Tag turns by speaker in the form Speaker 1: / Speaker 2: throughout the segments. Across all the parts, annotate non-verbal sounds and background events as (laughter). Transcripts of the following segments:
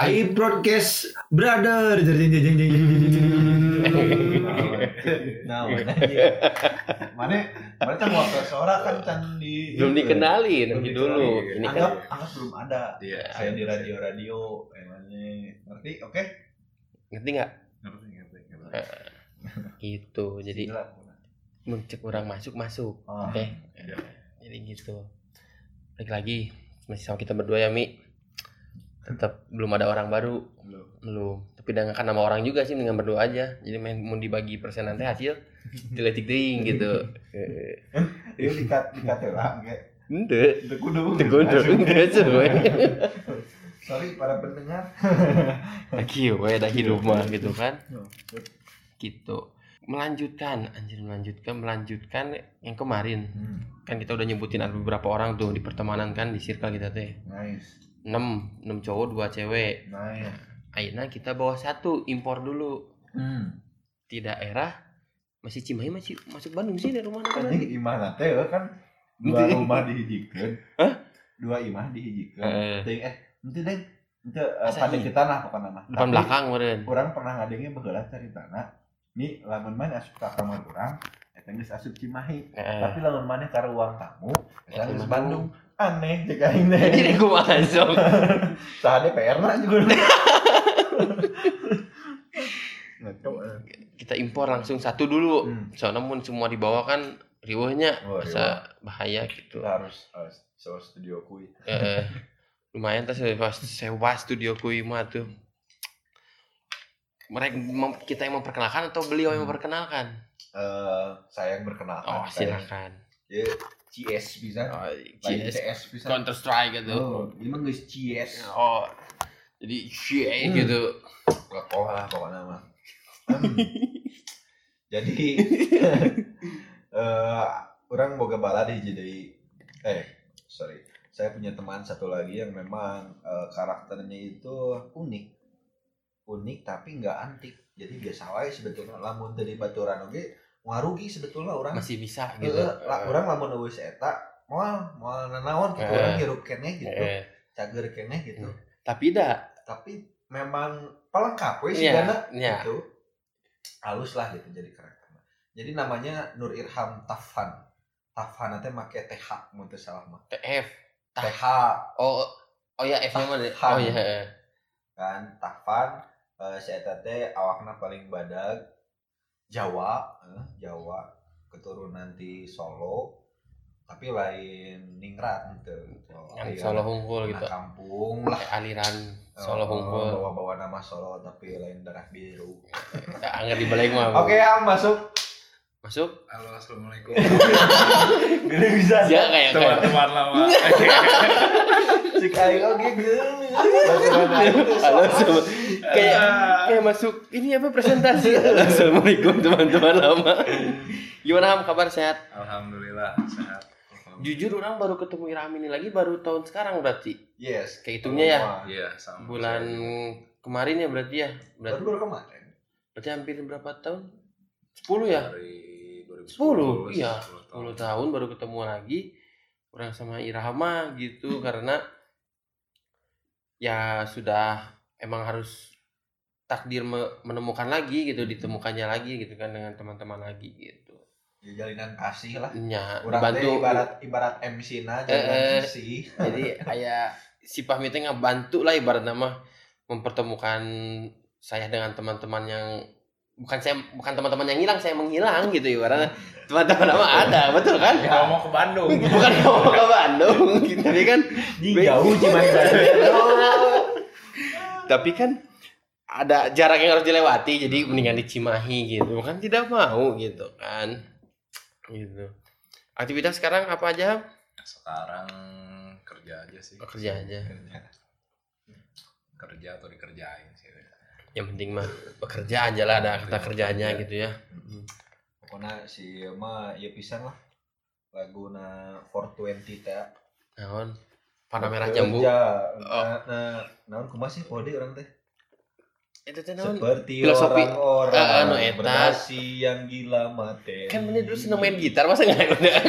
Speaker 1: I broadcast brother. Jeng, jeng, jeng, jeng, jeng, jeng, jeng, jeng.
Speaker 2: Nah, mana mana kan waktu suara kan can di
Speaker 3: Iya. Belum dikenalin
Speaker 2: Belum
Speaker 3: nanti dulu.
Speaker 2: dikenalin.
Speaker 3: Ini kan
Speaker 2: anggap anggap belum ada.
Speaker 4: Iya.
Speaker 2: Saya di radio-radio emangnya ngerti? Oke.
Speaker 3: ngerti nggak?
Speaker 2: Ngerti ngerti. ngerti.
Speaker 3: Gitu. Eh, Jadi
Speaker 2: Gila.
Speaker 3: mencek orang masuk masuk.
Speaker 2: Oh.
Speaker 3: Oke. Jadi gitu. Balik lagi masih sama kita berdua ya Mi. Tetap belum ada orang baru.
Speaker 2: Belum.
Speaker 3: Belum. Tapi udah ngangkat nama orang juga sih dengan berdua aja. Jadi main mau dibagi persenan teh hasil (laughs) diletik deing (laughs) gitu. Eh,
Speaker 2: Itu dikat dikatelah kayak
Speaker 3: Ente.
Speaker 2: itu kudu.
Speaker 3: Tegondo. Ente cuy.
Speaker 2: Sorry para pendengar.
Speaker 3: (laughs) Lagi we dah hidup mah gitu kan.
Speaker 2: No.
Speaker 3: Gitu. Melanjutkan anjir melanjutkan melanjutkan yang kemarin.
Speaker 2: Hmm,
Speaker 3: Kan kita udah nyebutin ada beberapa orang tuh di pertemanan kan di circle kita teh.
Speaker 2: nice.
Speaker 3: 6, 6 cowok, dua cewek.
Speaker 2: Nice.
Speaker 3: Akhirnya kita bawa satu impor dulu
Speaker 2: Hmm.
Speaker 3: di daerah masih Cimahi masih masuk Bandung sih dari rumah kan.
Speaker 2: Anjing imah na teh euy kan dua
Speaker 3: Ente.
Speaker 2: rumah dihijikeun.
Speaker 3: Gitu. Hah?
Speaker 2: Dua imah dihijikeun.
Speaker 3: Heeh.
Speaker 2: Ting eh ente deng ente
Speaker 3: Asa
Speaker 2: pada
Speaker 3: iya?
Speaker 2: kita nah pokoknya mah.
Speaker 3: Depan
Speaker 2: Tapi,
Speaker 3: belakang meren.
Speaker 2: Urang pernah ngadengnya baheula caritana. Ni lamun mana asup ka kamar urang, eta geus asup Cimahi.
Speaker 3: Heeh.
Speaker 2: Tapi lamun mana ka ruang tamu, eta
Speaker 3: Eta
Speaker 2: geus
Speaker 3: Bandung.
Speaker 2: Bandung. Aneh jeung aing teh.
Speaker 3: (laughs) Jadi gue masuk.
Speaker 2: (laughs) Saha DPR na
Speaker 3: (laughs)
Speaker 2: juga. eh. Ngaco. eh.
Speaker 3: Kita impor langsung satu dulu.
Speaker 2: Hmm.
Speaker 3: Soalnya mun semua dibawa kan riweuhnya
Speaker 2: Oh, riweuh.
Speaker 3: masa bahaya gitu.
Speaker 2: Kita harus harus sewa studio kuy.
Speaker 3: Heeh. Lumayan tas sewa, sewa studio kui mah tuh. Mereka mem- kita yang memperkenalkan atau beliau
Speaker 2: Hmm.
Speaker 3: yang memperkenalkan?
Speaker 2: Eh, saya yang berkenalkan.
Speaker 3: Oh,
Speaker 2: Saya-
Speaker 3: silakan.
Speaker 2: Ya, CS bisa.
Speaker 3: Oh,
Speaker 2: Lain
Speaker 3: CS
Speaker 2: CS bisa.
Speaker 3: Counter Strike gitu.
Speaker 2: Oh, ini mah guys CS.
Speaker 3: Oh, jadi cie
Speaker 2: Hmm.
Speaker 3: gitu.
Speaker 2: Gak kolah lah pokoknya mah. Hmm. (laughs) Jadi (laughs) eh orang boga bala di jadi eh sorry. Saya punya teman satu lagi yang memang eh, karakternya itu unik. Unik tapi nggak antik. Jadi biasa wae sebetulnya lamun tadi baturan oge ngarugi sebetulnya orang
Speaker 3: Masih bisa
Speaker 2: gitu.
Speaker 3: gitu.
Speaker 2: orang lamun eueus eta moal moal nanaon gitu
Speaker 3: Eh.
Speaker 2: orang hirup keneh gitu,
Speaker 3: Eh,
Speaker 2: cager keneh gitu.
Speaker 3: Tapi dah,
Speaker 2: Tapi memang pelengkap we sih
Speaker 3: ya, ya.
Speaker 2: gitu halus lah gitu jadi karakter jadi namanya Nur Irham Tafan Tafan nanti make TH mun teu salah mah
Speaker 3: TF. Tah.
Speaker 2: TH
Speaker 3: Oh, oh ya F nya mana?
Speaker 2: Tahan.
Speaker 3: Oh ya.
Speaker 2: kan Tafan eh si eta teh awakna paling badag Jawa eh, Jawa keturunan di Solo tapi lain ningrat gitu
Speaker 3: Yang Solo Hungkul gitu.
Speaker 2: kampung lah Oh. Eh,
Speaker 3: Eh, Aliran Solo Hungkul.
Speaker 2: bawa-bawa nama Solo tapi lain darah biru
Speaker 3: Dah, Angger di balik mah.
Speaker 2: oke Am masuk
Speaker 3: Masuk.
Speaker 4: Halo,
Speaker 2: (laughs)
Speaker 4: assalamualaikum.
Speaker 2: gede bisa
Speaker 3: Ya kayak kayak.
Speaker 4: Teman-teman lama.
Speaker 2: Cik aing oge geuning. Baturan aing teh sok
Speaker 3: Halo, semua.
Speaker 2: asik.
Speaker 3: Kayak kayak masuk ini apa presentasi. Halo, Assalamualaikum teman-teman lama. Gimana Ham kabar sehat?
Speaker 4: Alhamdulillah sehat.
Speaker 3: Jujur orang baru ketemu Irham ini lagi baru tahun sekarang berarti.
Speaker 2: Yes,
Speaker 3: Kayak hitungnya ya.
Speaker 4: Iya, sama.
Speaker 3: bulan kemarin ya berarti ya
Speaker 2: Baru
Speaker 3: berarti,
Speaker 2: baru kemarin.
Speaker 3: berarti hampir berapa tahun 10 ya
Speaker 4: Dari
Speaker 3: 10
Speaker 4: 2010.
Speaker 3: iya
Speaker 4: 10 tahun.
Speaker 3: 10 tahun baru ketemu lagi orang sama Irhama gitu karena ya sudah emang harus takdir me- menemukan lagi gitu ditemukannya lagi gitu kan dengan teman-teman lagi gitu
Speaker 2: Ya jalinan kasih lah.
Speaker 3: ya
Speaker 2: Urang teh
Speaker 3: dibantu
Speaker 2: ibarat ibarat MC na
Speaker 3: Eh, eh.
Speaker 2: jalinan kasih.
Speaker 3: jadi kayak si Fahmi teh ngebantu lah ibarat nama mempertemukan saya dengan teman-teman yang bukan saya bukan teman-teman yang hilang saya menghilang gitu ibaratnya teman-teman lama ada betul kan
Speaker 2: Ya.
Speaker 4: Kalau mau ke Bandung.
Speaker 3: bukan mau ke Bandung gitu, tapi kan
Speaker 2: Ini jauh cuman Bandung.
Speaker 3: tapi kan ada jarak yang harus dilewati jadi mendingan di Cimahi gitu kan tidak mau gitu kan gitu aktivitas sekarang apa aja
Speaker 4: Sekarang kerja aja sih.
Speaker 3: kerja aja
Speaker 4: Kerja. Kerja atau dikerjain sih.
Speaker 3: yang penting mah bekerja aja lah ada kata kerjanya gitu ya
Speaker 2: Pokoknya si ieu mah ya pisan lah. Laguna 420 teh.
Speaker 3: naon warna Ya kan? merah jambu Oh.
Speaker 2: nah, Kerja. Na, na, naon kumaha sih kode urang teh?
Speaker 3: Itu teh naon?
Speaker 2: Seperti
Speaker 3: Filosofi. Eh,
Speaker 2: orang-orang
Speaker 3: anu, eta.
Speaker 2: berdasi yang gila materi.
Speaker 3: Kan mana dulu seneng
Speaker 2: (laughs)
Speaker 3: main gitar masa nggak ada? (laughs)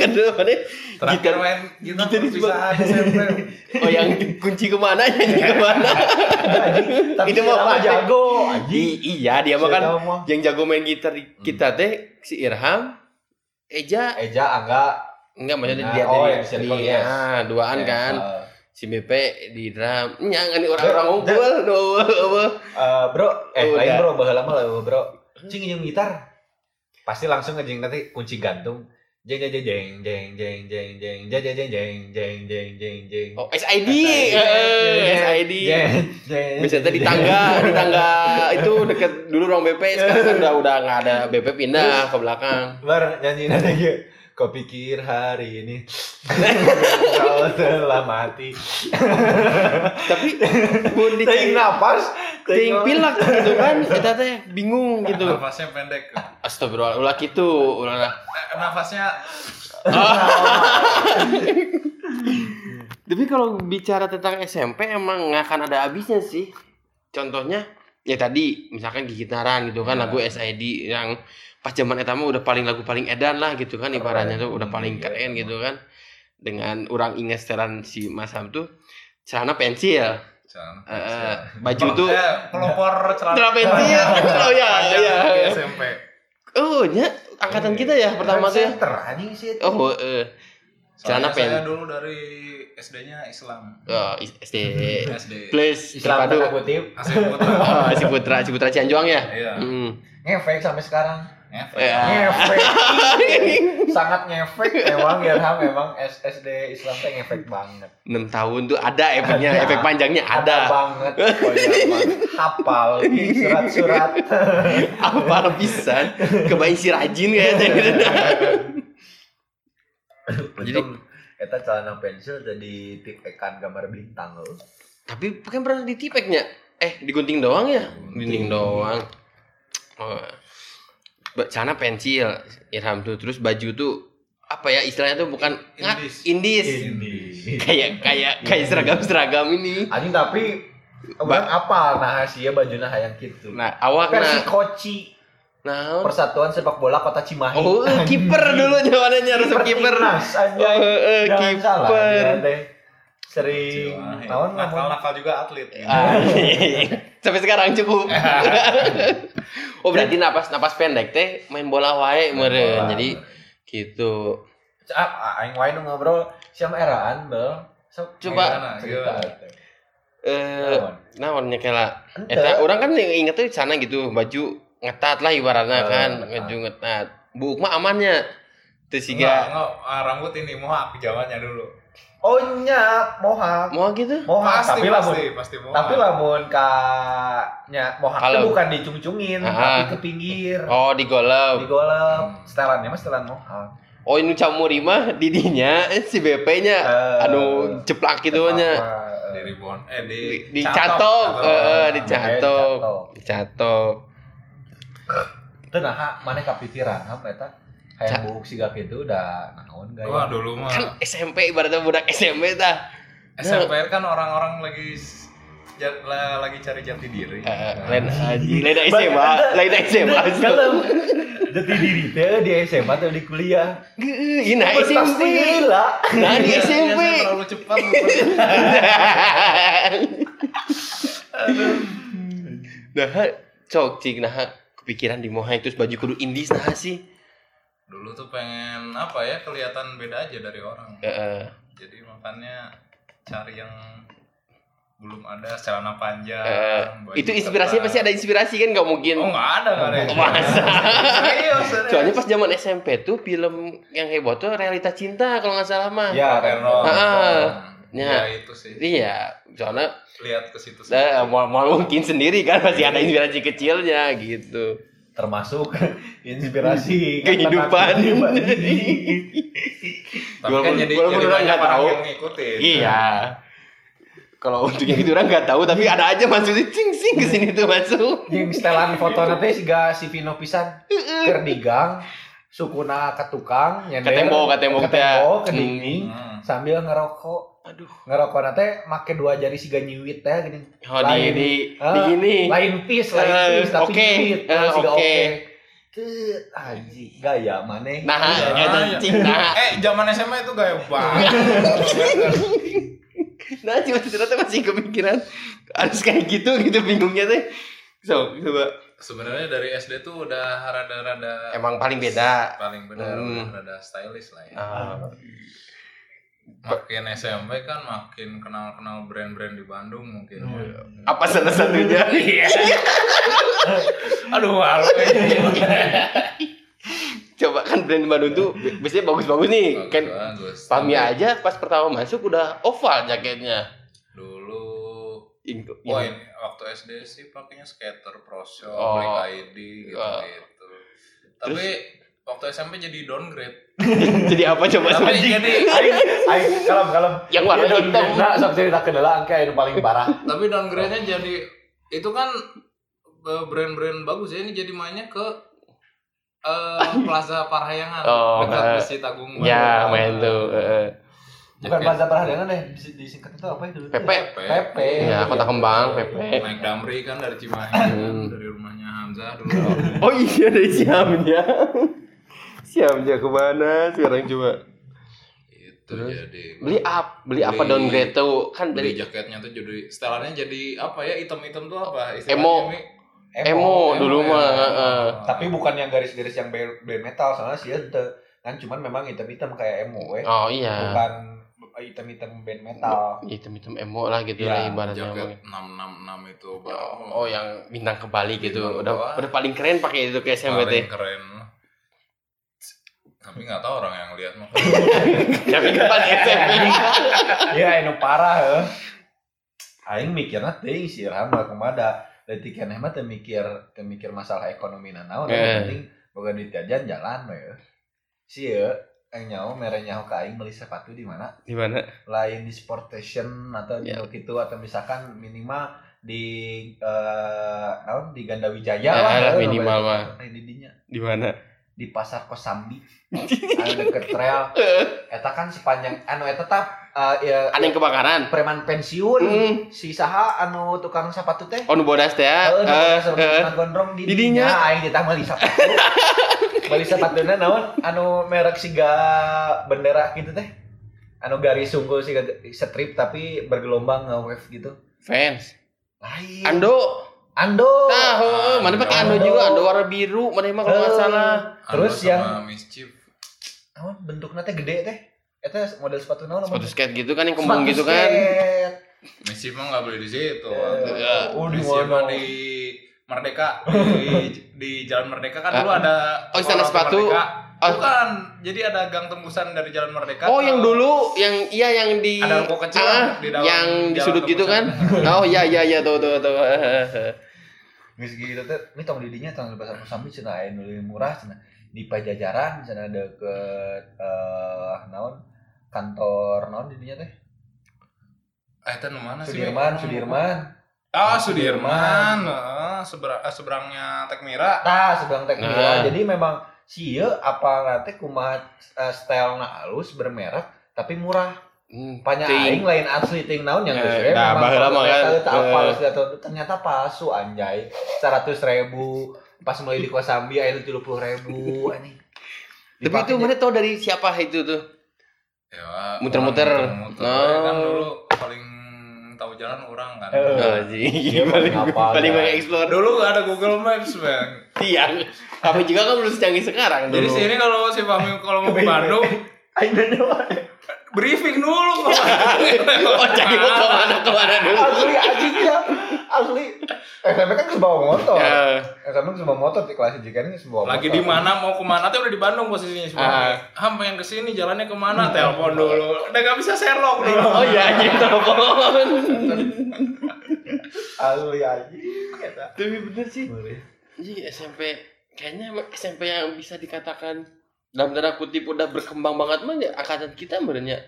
Speaker 3: Kan dulu mana?
Speaker 4: Terakhir
Speaker 3: Gitar.
Speaker 4: main gitar
Speaker 3: Gitar
Speaker 4: perpisahan SMP.
Speaker 3: (laughs) Oh yang kunci kemana nyanyi kemana?
Speaker 2: Tapi
Speaker 3: Itu mah
Speaker 2: siapa
Speaker 3: Pak.
Speaker 2: jago.
Speaker 3: I- iya dia mah kan
Speaker 2: Siapa mah?
Speaker 3: yang jago main gitar di kita teh si Irham, Eja
Speaker 2: Eja angga
Speaker 3: enggak maksudnya
Speaker 2: Nah,
Speaker 3: dia
Speaker 2: oh,
Speaker 3: dari-
Speaker 2: yang bisa
Speaker 3: di-
Speaker 2: dipakai, yes.
Speaker 3: ah, duaan
Speaker 2: Yes,
Speaker 3: kan
Speaker 2: eh,
Speaker 3: si BP di drum nya kan orang-orang
Speaker 2: Dek, dek.
Speaker 3: unggul duh, apa.
Speaker 2: eh, bro, eh
Speaker 3: Udah.
Speaker 2: lain bro, bahala lama lah bro. Cing yang gitar. Pasti langsung aja nanti kunci gantung. Jeng jeng jeng jeng jeng jeng jeng jeng jeng jeng jeng jeng jeng jeng jeng.
Speaker 3: oh SID
Speaker 2: SID.
Speaker 3: eh, SID
Speaker 2: Jeng, jeng,
Speaker 3: bisa tadi di
Speaker 2: jeng.
Speaker 3: tangga di tangga itu deket dulu ruang BP sekarang kan udah udah nggak ada BP pindah ke belakang
Speaker 2: Bar nyanyi nanti gitu. Kau pikir hari ini (laughs) kau telah mati.
Speaker 3: tapi pun di
Speaker 2: Ting napas,
Speaker 3: ting pilak gitu kan kita teh bingung gitu
Speaker 4: Nafasnya pendek.
Speaker 3: astagfirullah ulah gitu ulah lah.
Speaker 4: Eh, Nafasnya
Speaker 3: Tapi kalau bicara tentang SMP emang nggak akan ada habisnya sih. Contohnya ya tadi misalkan gitaran gitu kan
Speaker 2: Ya.
Speaker 3: lagu SID yang pas zaman eta mah udah paling lagu paling edan lah gitu kan
Speaker 2: Keren.
Speaker 3: ibaratnya tuh udah paling
Speaker 2: Iya,
Speaker 3: keren
Speaker 2: emang.
Speaker 3: gitu kan. Dengan orang ingat setelan si Mas Ham tuh celana pensil,
Speaker 4: celana.
Speaker 3: Eh,
Speaker 2: Iya.
Speaker 3: eh, baju tuh
Speaker 2: (laughs)
Speaker 4: Eh, pelopor celana
Speaker 3: celana pensil. oh ya,
Speaker 4: panjang
Speaker 3: iya.
Speaker 4: di SMP.
Speaker 3: Oh, nya angkatan kita ya pertama tuh. ya.
Speaker 2: Center anjing sih.
Speaker 3: Oh, eh, Celana
Speaker 4: Soalnya saya
Speaker 3: pendek.
Speaker 4: dulu dari SD-nya Islam.
Speaker 3: oh, SD
Speaker 1: Iya.
Speaker 4: SD.
Speaker 3: plus
Speaker 2: Islam
Speaker 3: Terpadu.
Speaker 2: tanda kutip
Speaker 4: Asli putra.
Speaker 3: (laughs) Oh, (laughs) si Putra, si Putra Cianjuang ya?
Speaker 4: Iya.
Speaker 3: Hmm.
Speaker 2: ngefek sampai sekarang.
Speaker 4: Ngefek.
Speaker 3: Ya. (laughs)
Speaker 2: Ngefek. Sangat ngefek memang Irham memang SSD Islam teh ngefek banget.
Speaker 3: 6 tahun tuh ada efeknya,
Speaker 2: Ada.
Speaker 3: efek panjangnya ada.
Speaker 2: banget. Oh, iya, Bang. Hafal ini surat-surat.
Speaker 3: Apa pisan? Kebain si rajin kayaknya gitu.
Speaker 2: Jadi eta celana pensil jadi tip ekan gambar bintang loh.
Speaker 3: Tapi kan pernah ditipeknya. Eh, digunting doang ya? Gunting doang. Oh. Ba- Celana pensil, Irham tuh terus baju tuh apa ya istilahnya tuh bukan ngat-
Speaker 4: Indis.
Speaker 3: indis.
Speaker 2: Ini.
Speaker 3: Kayak kayak kayak seragam-seragam ini.
Speaker 2: Anjing tapi Orang apa nah sia bajuna hayang kitu.
Speaker 3: Nah, awak
Speaker 2: Versi
Speaker 3: nah,
Speaker 2: Koci
Speaker 3: nah
Speaker 2: Persatuan Sepak Bola Kota Cimahi.
Speaker 3: Oh, eh, kiper dulu jawabannya harus kiper.
Speaker 2: Timnas
Speaker 3: Oh,
Speaker 2: anjay.
Speaker 3: eh,
Speaker 2: Jangan salah, ya,
Speaker 3: kiper.
Speaker 2: dia teh Sering tahun
Speaker 1: Nah,
Speaker 4: nakal nakal juga atlet.
Speaker 3: (laughs) Ah, Sampai sekarang cukup. (laughs) oh, berarti napas napas pendek teh main bola wae meureun. Jadi gitu.
Speaker 2: aing wae nu ngobrol siam eraan, Bel. Sok
Speaker 3: Coba.
Speaker 2: eraan, cerita.
Speaker 1: Nah,
Speaker 3: Eh,
Speaker 2: Naon?
Speaker 3: naon nya kela?
Speaker 2: Ente.
Speaker 3: Eta urang kan yang inget tuh sana gitu, baju ngetat lah ibaratnya
Speaker 2: Eh,
Speaker 3: kan,
Speaker 2: ngetat.
Speaker 3: baju Ah, ngetat. Buuk mah amannya. Terus
Speaker 4: Enggak,
Speaker 3: siga
Speaker 4: enggak, ah, rambut ini mohak jamannya dulu.
Speaker 2: Oh nya mohak.
Speaker 3: mau gitu.
Speaker 2: Mohak
Speaker 4: Pasti
Speaker 2: tapi lamun
Speaker 4: pasti pasti mohak.
Speaker 2: tapi
Speaker 3: Oh.
Speaker 2: lamun ka nya mohak
Speaker 3: Kalau-
Speaker 2: itu bukan dicungcungin
Speaker 3: Ah.
Speaker 2: tapi ke pinggir.
Speaker 3: Oh, digolep. Hmm.
Speaker 2: Digolep. Setelannya mah setelan mohak.
Speaker 3: Oh, ini camuri mah didinya eh, si BP-nya.
Speaker 2: Eh,
Speaker 3: Aduh, jeplak gitu nya.
Speaker 2: apa,
Speaker 4: di
Speaker 2: eh,
Speaker 4: ribon eh di
Speaker 3: Di- dicatok.
Speaker 4: catok.
Speaker 3: Eh,
Speaker 2: eh,
Speaker 3: dicatok. Dicatok.
Speaker 2: Teu naha nah, maneh kapikiran ham eta
Speaker 3: Ca-
Speaker 2: hayang buuk sigak itu udah naon gaya.
Speaker 4: Wah, dulu mah
Speaker 3: kan SMP ibaratnya budak SMP tah
Speaker 4: SMP kan orang-orang lagi s- ja- la- lagi cari jati diri.
Speaker 3: Eh, lain aji lain SMA lain SMA
Speaker 2: Kalau jati diri teh di SMA atau di kuliah?
Speaker 3: Geuh, ina SMP
Speaker 2: Pasti gila.
Speaker 3: nah di
Speaker 4: Iya, iya,
Speaker 3: SMP
Speaker 4: saya terlalu cepat. lu.
Speaker 3: nah cok cik nah kepikiran di mohai terus baju kudu indis nah sih
Speaker 4: dulu tuh pengen apa ya kelihatan beda aja dari orang.
Speaker 2: Ah,
Speaker 3: Heeh.
Speaker 4: Jadi makanya cari yang belum ada celana panjang.
Speaker 3: Eh,
Speaker 4: baju
Speaker 3: itu inspirasinya
Speaker 4: ketat.
Speaker 3: pasti ada inspirasi kan nggak mungkin
Speaker 4: Oh nggak ada nggak ada. yang-
Speaker 3: Masa?
Speaker 4: Serius, serius.
Speaker 3: soalnya pas zaman SMP tuh film yang heboh tuh realita cinta kalau nggak salah mah Ah,
Speaker 2: Ya,
Speaker 4: Reno.
Speaker 3: Heeh. Ya.
Speaker 4: Ya. itu sih.
Speaker 3: iya soalnya
Speaker 4: Lihat ke situ. sih.
Speaker 3: Nah, mau, mau mungkin sendiri kan masih ada inspirasi kecilnya gitu.
Speaker 2: termasuk (laughs) inspirasi
Speaker 3: Kehidupan.
Speaker 2: kehidupan.
Speaker 4: Tapi kan
Speaker 3: Walaupun-
Speaker 4: jadi
Speaker 3: walaupun
Speaker 4: jadi
Speaker 3: orang
Speaker 4: banyak
Speaker 3: nggak
Speaker 4: orang
Speaker 3: tahu.
Speaker 4: yang gitu. ngikutin.
Speaker 3: Iya. Kalau untuk yang itu orang nggak tahu, tapi ada aja maksudnya cing cing ke sini tuh masuk.
Speaker 2: Yang setelan foto nanti siga si Vino pisan keur di gang sukuna ke tukang nyender
Speaker 3: Ke tembok, ya. ke tembok,
Speaker 2: ke tembok
Speaker 3: teh.
Speaker 2: ke dinding
Speaker 4: Hmm.
Speaker 2: sambil ngerokok
Speaker 3: Aduh.
Speaker 2: ngerokok nanti make dua jari si ganyiwit teh gini
Speaker 3: Oh, di,
Speaker 2: Lain.
Speaker 3: di,
Speaker 2: Ah,
Speaker 3: di gini.
Speaker 2: lain piece lain
Speaker 3: Eh,
Speaker 2: piece tapi
Speaker 3: oke.
Speaker 2: nyiwit
Speaker 3: Eh,
Speaker 2: Terus juga
Speaker 3: oke.
Speaker 2: oke Tet, anjing gaya Iya. maneh
Speaker 3: Nah,
Speaker 2: Gaya.
Speaker 3: gaya. anjing, nah.
Speaker 1: Eh, zaman SMA itu gaya
Speaker 3: (laughs)
Speaker 1: banget.
Speaker 3: nah cuma ternyata masih kepikiran harus kayak gitu gitu bingungnya teh so coba
Speaker 1: Sebenarnya dari SD tuh udah rada-rada
Speaker 3: emang paling beda
Speaker 1: paling benar
Speaker 3: Hmm.
Speaker 1: rada stylish lah ya.
Speaker 3: Ah,
Speaker 1: Makin SMP kan makin kenal-kenal brand-brand di Bandung mungkin.
Speaker 5: Hmm.
Speaker 1: ya.
Speaker 3: apa salah
Speaker 1: (laughs)
Speaker 3: satunya
Speaker 1: Aduh, malu ini.
Speaker 3: coba kan brand Bandung tuh bi- biasanya bagus-bagus nih kan
Speaker 1: Bagus.
Speaker 3: Pami aja pas pertama masuk udah oval jaketnya
Speaker 1: Dulu
Speaker 3: Itu-
Speaker 1: Wah,
Speaker 3: yang-
Speaker 1: ini waktu SD sih pakainya skater, pro shop,
Speaker 3: Oh.
Speaker 1: Black ID gitu-gitu. Tapi waktu SMP jadi downgrade.
Speaker 3: (laughs) jadi apa coba
Speaker 1: Tapi
Speaker 3: sama-
Speaker 1: jadi
Speaker 2: Aing kalem kalem
Speaker 3: (laughs) yang warna
Speaker 2: Iya,
Speaker 3: hitam
Speaker 2: nah sampai cerita kendala angka yang paling
Speaker 3: (laughs)
Speaker 2: parah
Speaker 1: tapi downgrade-nya jadi itu kan eh, brand-brand bagus ya ini jadi mainnya ke
Speaker 3: (laughs)
Speaker 1: eh, Plaza Parahyangan
Speaker 3: Oh,
Speaker 1: dekat Iya.
Speaker 3: eh.
Speaker 1: Masjid Agung
Speaker 3: ya
Speaker 1: Bandung.
Speaker 3: main tuh eh,
Speaker 2: bukan bahasa perhadian deh dis- disingkat itu apa ya dulu
Speaker 3: Pepe.
Speaker 1: Pepe.
Speaker 2: PP
Speaker 3: ya kota kembang PP
Speaker 1: Mike Damri kan dari Cimahi
Speaker 3: Hmm.
Speaker 1: dari rumahnya Hamzah dulu
Speaker 3: (laughs) oh iya dari (laughs) siamnya siamnya kemana sekarang coba
Speaker 1: itu
Speaker 3: Terus?
Speaker 1: jadi
Speaker 3: beli up beli, apa
Speaker 1: Beli-
Speaker 3: downgrade tuh kan
Speaker 1: beli
Speaker 3: dari
Speaker 1: jaketnya tuh jadi stelannya jadi apa ya item-item tuh apa
Speaker 3: Emo.
Speaker 1: Mi?
Speaker 3: emo, dulu
Speaker 1: ya.
Speaker 3: mah eh, heeh.
Speaker 2: tapi bukan yang garis-garis yang bare bare metal soalnya sih itu kan cuman memang hitam-hitam kayak emo eh
Speaker 3: oh iya
Speaker 2: bukan hitam-hitam band metal
Speaker 3: hitam hitam emo lah
Speaker 2: Iya,
Speaker 3: gitu lah ibaratnya
Speaker 1: jaket 666 itu Bang.
Speaker 3: oh, oh, yang bintang kebalik gitu
Speaker 1: Bintang
Speaker 3: udah
Speaker 1: kebalik.
Speaker 3: udah paling keren pakai itu kayak SMBT
Speaker 1: paling keren tapi nggak tahu orang yang lihat mah
Speaker 3: (laughs) tapi pas
Speaker 1: (laughs)
Speaker 3: SMP Iya,
Speaker 2: ya eno Iya, parah heuh. aing mikirnya teuing si Irham mah kemada detik keneh mah teu mikir teu mikir masalah ekonomi na naon
Speaker 3: Eh.
Speaker 2: yang penting boga duit jajan jalan we si ye aing nyaho mere nyaho ka aing beli sepatu di mana
Speaker 3: di mana
Speaker 2: lain di sport station atau di
Speaker 3: Ya.
Speaker 2: gitu atau misalkan minimal di eh naon di Ganda Wijaya
Speaker 3: Ya,
Speaker 2: lah,
Speaker 3: lah,
Speaker 2: heuh,
Speaker 3: minimal
Speaker 2: nobel-
Speaker 3: mah.
Speaker 2: nobel di dinya.
Speaker 3: di mana
Speaker 2: di pasar Kosambi anu deket trail eta kan sepanjang anu eta tah eh, ya,
Speaker 3: ada yang kebakaran
Speaker 2: preman pensiun
Speaker 3: hmm.
Speaker 2: si saha anu tukang sepatu teh
Speaker 3: oh nu bodas teh ya
Speaker 2: Heeh, uh,
Speaker 3: Eh, eh.
Speaker 2: gondrong di
Speaker 3: di dinya.
Speaker 2: dinya aing ditah meuli
Speaker 3: (laughs)
Speaker 2: sepatu. Meuli sepatuna naon anu merek siga bendera gitu teh. Anu garis sungkul siga strip tapi bergelombang nge-wave gitu.
Speaker 3: fans
Speaker 2: Lain.
Speaker 3: Ando
Speaker 2: Ando.
Speaker 3: tahu eh. mana pakai Ando
Speaker 2: Ando.
Speaker 3: juga Ando warna biru mana emang kalau nggak
Speaker 2: Eh,
Speaker 3: salah
Speaker 2: Terus yang
Speaker 1: mischief
Speaker 2: naon bentukna teh gede teh. Eta model sepatu naon?
Speaker 3: sepatu
Speaker 2: namanya?
Speaker 3: skate gitu kan yang kembung
Speaker 2: Sepatu
Speaker 3: gitu kan
Speaker 2: skate.
Speaker 1: mischief mah nggak beli di situ
Speaker 2: Ya. Oh, di
Speaker 1: mischief mah
Speaker 2: mana?
Speaker 1: di Merdeka
Speaker 2: (laughs)
Speaker 1: di, di Jalan Merdeka kan dulu
Speaker 3: Ah.
Speaker 1: ada
Speaker 3: Oh, istana
Speaker 1: orang-orang
Speaker 3: sepatu.
Speaker 1: Merdeka.
Speaker 3: Ah.
Speaker 1: bukan jadi ada gang tembusan dari Jalan Merdeka
Speaker 3: Oh,
Speaker 1: ke-
Speaker 3: yang dulu yang iya yang di
Speaker 1: Ada ruko kecil
Speaker 3: Ah,
Speaker 1: di dalam
Speaker 3: yang di
Speaker 1: jalan
Speaker 3: sudut gitu kan.
Speaker 1: tembusan.
Speaker 3: oh iya iya iya tuh tuh tuh.
Speaker 2: Geus gitu teh, ini tong di dinya tong di pasar Kosambi cenah aya nu leuwih murah cenah di Pajajaran cenah deket eh naon kantor naon di dinya teh
Speaker 1: ah itu nu mana sih
Speaker 2: Sudirman
Speaker 1: Mi?
Speaker 2: Sudirman
Speaker 1: ah Sudirman Ah, sebera- ah, seberangnya Tekmira
Speaker 2: tah sedang teknik
Speaker 3: Nah.
Speaker 2: jadi memang si ieu apa teh kumaha eh, stylena halus bermerek tapi murah
Speaker 3: Hmm.
Speaker 2: banyak aing lain asli ting naon yang
Speaker 3: Eh,
Speaker 2: geus we,
Speaker 3: nah,
Speaker 2: memang
Speaker 3: baheula
Speaker 2: kalau
Speaker 3: mah
Speaker 2: mereka
Speaker 3: kan,
Speaker 2: teu tak apa
Speaker 3: eh.
Speaker 2: halus atau ternyata palsu anjay 100.000 pas mulai di Kosambi aya 70.000 anjing
Speaker 3: Tapi itu mana tau dari siapa itu tuh?
Speaker 1: ya
Speaker 3: Muter-muter.
Speaker 1: orang muter-muter.
Speaker 3: Oh.
Speaker 1: kan dulu paling tahu jalan orang kan
Speaker 2: Eh.
Speaker 3: Oh, sih.
Speaker 2: Iya,
Speaker 3: paling
Speaker 2: apa,
Speaker 3: paling
Speaker 2: kan?
Speaker 3: banyak explore
Speaker 1: dulu nggak ada Google Maps bang
Speaker 3: tiang. Tapi juga kan belum secanggih sekarang dulu.
Speaker 1: Jadi sini kalau si Fahmi kalau mau ke Bandung
Speaker 2: aing dewe
Speaker 1: briefing dulu kok.
Speaker 3: (laughs) oh, jadi mau kemana kemana dulu?
Speaker 2: asli anjingnya asli SMP kan harus bawa motor
Speaker 3: Ya.
Speaker 2: SMP harus bawa motor di kelas jika ini harus bawa motor
Speaker 1: Lagi di mana mau kemana tuh udah di Bandung posisinya si Fahmi.
Speaker 3: Ah. Hmm.
Speaker 1: Ham pengen ke sini jalannya kemana? Telepon dulu. Udah gak bisa Sherlock dulu.
Speaker 3: Oh iya anjing telepon.
Speaker 2: asli anjing kata.
Speaker 3: Tapi bener sih. Anjing SMP kayaknya emang SMP yang bisa dikatakan dalam tanda kutip udah berkembang banget mah ya, angkatan kita sebenarnya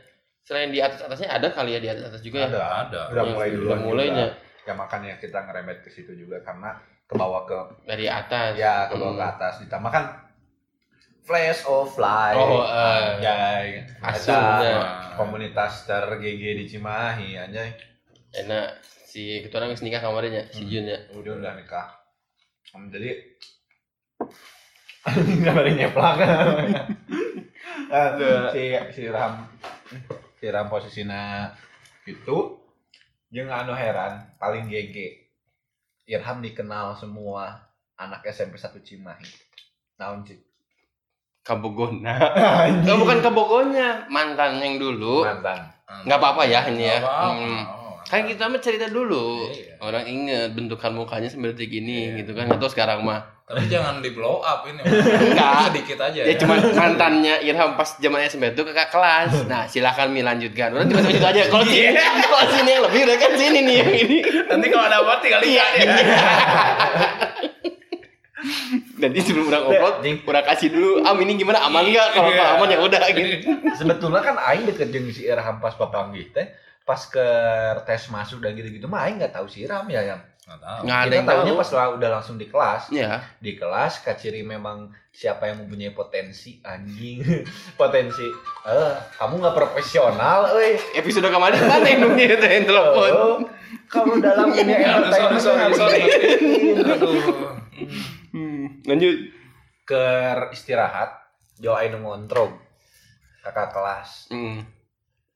Speaker 3: selain di atas atasnya ada kali ya di atas atas juga ya.
Speaker 2: ada
Speaker 1: ada.
Speaker 2: udah mulai
Speaker 3: Udah
Speaker 2: duluan
Speaker 3: mulainya.
Speaker 2: juga. ya makanya kita ngeremet ke situ juga karena ke bawah ke
Speaker 3: dari atas
Speaker 2: ya ke bawah ke
Speaker 3: Hmm.
Speaker 2: atas ditambah kan Flash of Light.
Speaker 6: Oh, eh.
Speaker 2: Anjay.
Speaker 6: Asuh,
Speaker 2: Eta,
Speaker 3: ya.
Speaker 1: Nah,
Speaker 2: Komunitas tergg di Cimahi, anjay.
Speaker 3: enak si ketua orang nikah kamarnya
Speaker 2: Hmm.
Speaker 3: si Jun ya
Speaker 2: Udah udah nikah. Em, Jadi (laughs) nggak balik nyeplak. (laughs) Eh, si si Ram si Ram posisinya itu jeung anu heran paling GG. Irham dikenal semua anak SMP 1 Cimahi. Tahun Cik.
Speaker 3: kabogona Eh, bukan kabogonya mantan yang dulu
Speaker 2: Mantan.
Speaker 3: nggak apa-apa ya ini ya
Speaker 4: Nggak apa-apa.
Speaker 3: Hmm. kan kita mah cerita dulu
Speaker 4: Iya.
Speaker 3: orang inget bentukan mukanya seperti gini
Speaker 2: Iya.
Speaker 3: gitu kan nggak tahu sekarang mah
Speaker 4: Tapi jangan di blow up ini.
Speaker 3: Enggak.
Speaker 4: Sedikit aja.
Speaker 1: Iya.
Speaker 3: Ya cuma mantannya Irham pas zaman SMP itu kakak kelas. Nah, silakan Mi lanjutkan. Udah tiba-tiba itu aja. Kalau sini, kalau sini yang lebih udah kan sini nih yang ini.
Speaker 6: Nanti kalau ada apa tinggal
Speaker 3: Iya.
Speaker 6: lihat
Speaker 3: iya. Jadi sebelum orang upload, orang kasih dulu, Am ini gimana aman nggak? Kalau nggak aman ya udah gitu.
Speaker 2: Sebetulnya kan aing deket jeung si Irham pas papanggih teh pas ke tes masuk dan gitu-gitu mah aing nggak tahu si Irham ya yang
Speaker 4: Nggak tahu.
Speaker 3: Nggak ada
Speaker 2: kita
Speaker 3: yang
Speaker 2: tahunya
Speaker 3: tahu.
Speaker 2: pas lah udah langsung di kelas
Speaker 3: Ya,
Speaker 2: di kelas Kak Ciri memang siapa yang mempunyai potensi anjing (laughs) potensi eh kamu nggak profesional eh
Speaker 3: episode kemarin mana yang nunggu itu yang telepon?
Speaker 2: oh, kamu dalam
Speaker 4: (laughs)
Speaker 2: dunia entertainment
Speaker 4: sorry,
Speaker 2: harus
Speaker 4: sorry, sorry.
Speaker 2: diperhatiin.
Speaker 4: Aduh.
Speaker 3: Hmm, Lanjut.
Speaker 2: ke istirahat jo aing nu ngontrong kakak kelas
Speaker 3: Hmm.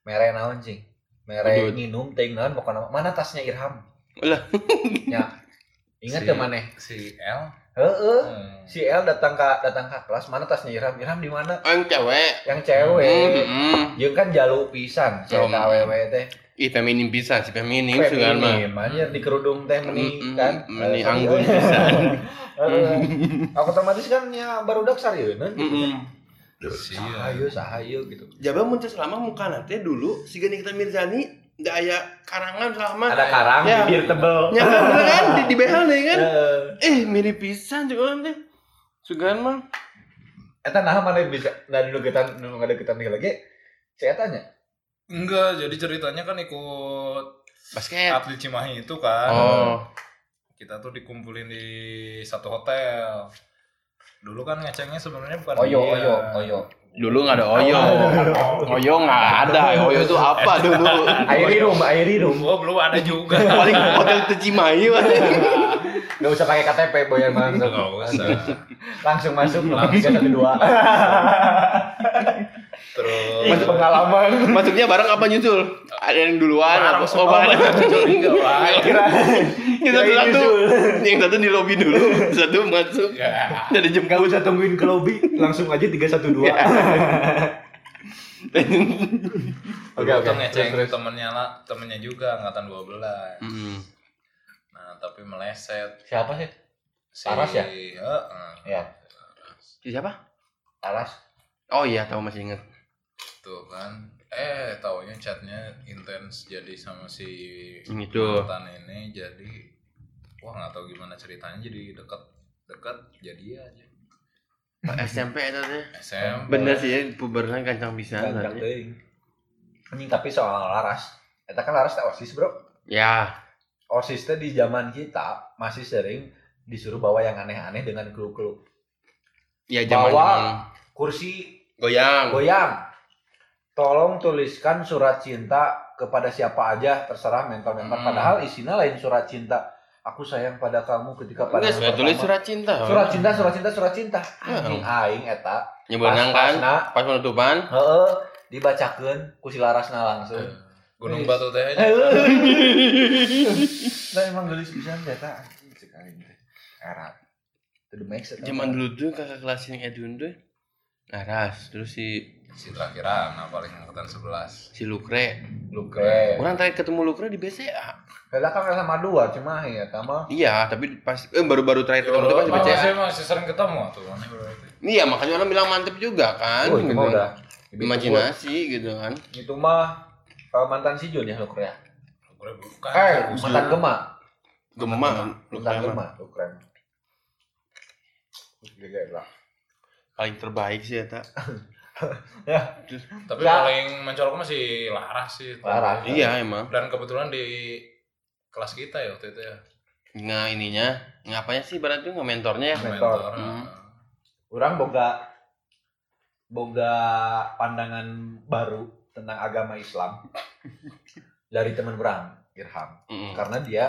Speaker 2: mere naon cing mere
Speaker 3: Aduh.
Speaker 2: nginum teh naon pokoknya mana tasnya Irham
Speaker 3: Lah.
Speaker 2: (laughs) ya ingat
Speaker 4: Si-
Speaker 2: ke maneh
Speaker 4: Si L.
Speaker 2: heeh
Speaker 4: Hmm.
Speaker 2: si L datang ke datang ke kelas mana tasnya Irham Irham di mana
Speaker 3: Oh, yang cewek.
Speaker 2: yang cewek
Speaker 3: Hmm, hmm.
Speaker 2: Jeung kan jaluk pisan saya
Speaker 3: Oh,
Speaker 2: ka awewe teh.
Speaker 3: Ih, feminim pisan si feminim, sugan mah.
Speaker 2: Feminim anjir di kerudung teh
Speaker 3: Mm,
Speaker 2: meni
Speaker 3: mm,
Speaker 2: kan. Eh,
Speaker 3: meni
Speaker 2: sorry, (laughs)
Speaker 3: anggun
Speaker 2: eh.
Speaker 3: pisan.
Speaker 2: Heeh. Aku otomatis kan ya barudak sarieuna.
Speaker 3: Hmm.
Speaker 2: Sahayu sahayu gitu.
Speaker 3: Jaba muncul selama muka nanti dulu si Nikita Mirzani ndak aya karangan selama
Speaker 2: Ada karang
Speaker 3: Ya.
Speaker 2: bibir tebel.
Speaker 3: ya kan bener kan di, di behel nih kan
Speaker 2: Heeh.
Speaker 3: eh mirip pisan juga nanti Sugan mah
Speaker 2: Eta naha mana bisa nah dulu kita nu ngadeukeutan heula ge. Saya tanya,
Speaker 4: Enggak, jadi ceritanya kan ikut
Speaker 2: Eh.
Speaker 3: basket
Speaker 4: atlet Cimahi itu kan.
Speaker 3: oh
Speaker 4: Kita tuh dikumpulin di satu hotel. Dulu kan ngecengnya sebenarnya bukan
Speaker 2: oyo
Speaker 3: Iya.
Speaker 4: dia.
Speaker 2: oyo oyo.
Speaker 3: dulu nggak ada oyo oyo nggak ada oyo itu apa dulu
Speaker 2: Airi room, airi room.
Speaker 4: Gua Oh, belum ada juga.
Speaker 2: (laughs)
Speaker 3: paling hotel Tejimayu
Speaker 2: Enggak usah pakai KTP boyan
Speaker 3: (laughs)
Speaker 2: langsung.
Speaker 4: Nggak usah.
Speaker 2: Langsung masuk langsung satu
Speaker 3: (laughs)
Speaker 2: dua.
Speaker 4: Terus
Speaker 2: Masih pengalaman.
Speaker 3: maksudnya bareng apa nyusul ada yang duluan
Speaker 4: Bareng
Speaker 3: apa
Speaker 4: semua,
Speaker 3: oh,
Speaker 4: (laughs)
Speaker 3: bareng.
Speaker 4: enggak lah.
Speaker 3: yang satu satu yang satu di lobi dulu satu masuk
Speaker 4: Ya.
Speaker 3: dari
Speaker 1: Gak
Speaker 3: jemput
Speaker 1: usah tungguin ke lobby, langsung aja 312.
Speaker 3: Iya.
Speaker 2: Oke
Speaker 4: Dulu
Speaker 2: oke.
Speaker 4: tuh
Speaker 3: ya,
Speaker 4: ngeceng
Speaker 2: Terus, terus.
Speaker 4: temennya lah, temennya juga angkatan 12.
Speaker 3: Hmm.
Speaker 4: Nah, tapi meleset
Speaker 2: Siapa sih?
Speaker 4: si
Speaker 2: Aras ya?
Speaker 4: Heeh.
Speaker 2: Ya.
Speaker 3: siapa
Speaker 2: Alas.
Speaker 3: Oh iya, tahu masih ingat.
Speaker 4: tuh kan eh taunya chatnya intens jadi sama si
Speaker 3: Yang itu.
Speaker 4: mantan ini jadi wah nggak tahu gimana ceritanya jadi dekat dekat jadi aja
Speaker 3: SMP itu teh.
Speaker 4: SM
Speaker 3: Bener sih, pubernya gancang bisa.
Speaker 2: Gancang teuing. Anjing tapi soal Laras, eta kan Laras teh OSIS, Bro.
Speaker 3: Ya,
Speaker 2: OSIS teh di zaman kita masih sering disuruh bawa yang aneh-aneh dengan kru-kru.
Speaker 3: ya zaman
Speaker 2: Bawa.
Speaker 3: zaman
Speaker 2: Kursi
Speaker 3: goyang.
Speaker 2: goyang. Tolong tuliskan surat cinta kepada siapa aja terserah mentor-mentor
Speaker 4: Hmm.
Speaker 2: padahal isinya lain surat cinta. Aku sayang pada kamu ketika pada
Speaker 3: Enggak,
Speaker 2: yang
Speaker 3: sudah tulis
Speaker 2: pertama.
Speaker 3: surat cinta.
Speaker 2: surat cinta surat cinta surat cinta anjing aing eta
Speaker 3: Nyebenang kan?
Speaker 2: Pas-pasna.
Speaker 3: Pas penutupan.
Speaker 2: heeh dibacakeun ku si Larasna langsung
Speaker 4: Eh, gunung batu teh aja
Speaker 3: (laughs)
Speaker 2: Nah emang gelis pisan data anjing cek aing teh. Erat. To the max eta.
Speaker 3: Zaman dulu tuh kakak kelas yang Edun tuh. Naras, terus si
Speaker 4: si terakhir nah paling angkatan 11
Speaker 3: si Lukre.
Speaker 2: Luke.
Speaker 3: Orang terakhir ketemu Lukre di BCA.
Speaker 2: Beda eh. kan sama dua cuma ya sama.
Speaker 3: Iya, tapi pas eh baru-baru terakhir ketemu tuh pas di
Speaker 4: Emang
Speaker 3: BCA.
Speaker 4: saya masih sering ketemu tuh mana berarti
Speaker 3: Iya, makanya orang bilang mantep juga kan.
Speaker 2: Oh, itu mah
Speaker 3: Gitu.
Speaker 2: udah.
Speaker 3: Imajinasi gitu kan.
Speaker 2: Itu mah eh, mantan si Jun ya Luke ya.
Speaker 4: gue bukan
Speaker 2: Eh, mantan Gema.
Speaker 3: Gemar. Lukre
Speaker 2: Mantan
Speaker 3: mah.
Speaker 2: Gema, Luke. Gila lah.
Speaker 3: paling terbaik sih ya, tak.
Speaker 4: tapi
Speaker 2: Ya.
Speaker 4: paling mencolok masih laras sih
Speaker 2: Laras.
Speaker 3: Iya, emang.
Speaker 4: dan kebetulan di kelas kita ya waktu itu ya
Speaker 3: nggak
Speaker 4: Nah,
Speaker 3: ininya ngapanya sih berarti nggak mentornya ya
Speaker 2: Mentor.
Speaker 4: mentor.
Speaker 3: Hmm.
Speaker 2: Orang boga boga pandangan baru tentang agama
Speaker 3: (laughs)
Speaker 2: Islam dari teman berang Irham
Speaker 3: Mm-mm.
Speaker 6: Hmm.
Speaker 2: karena dia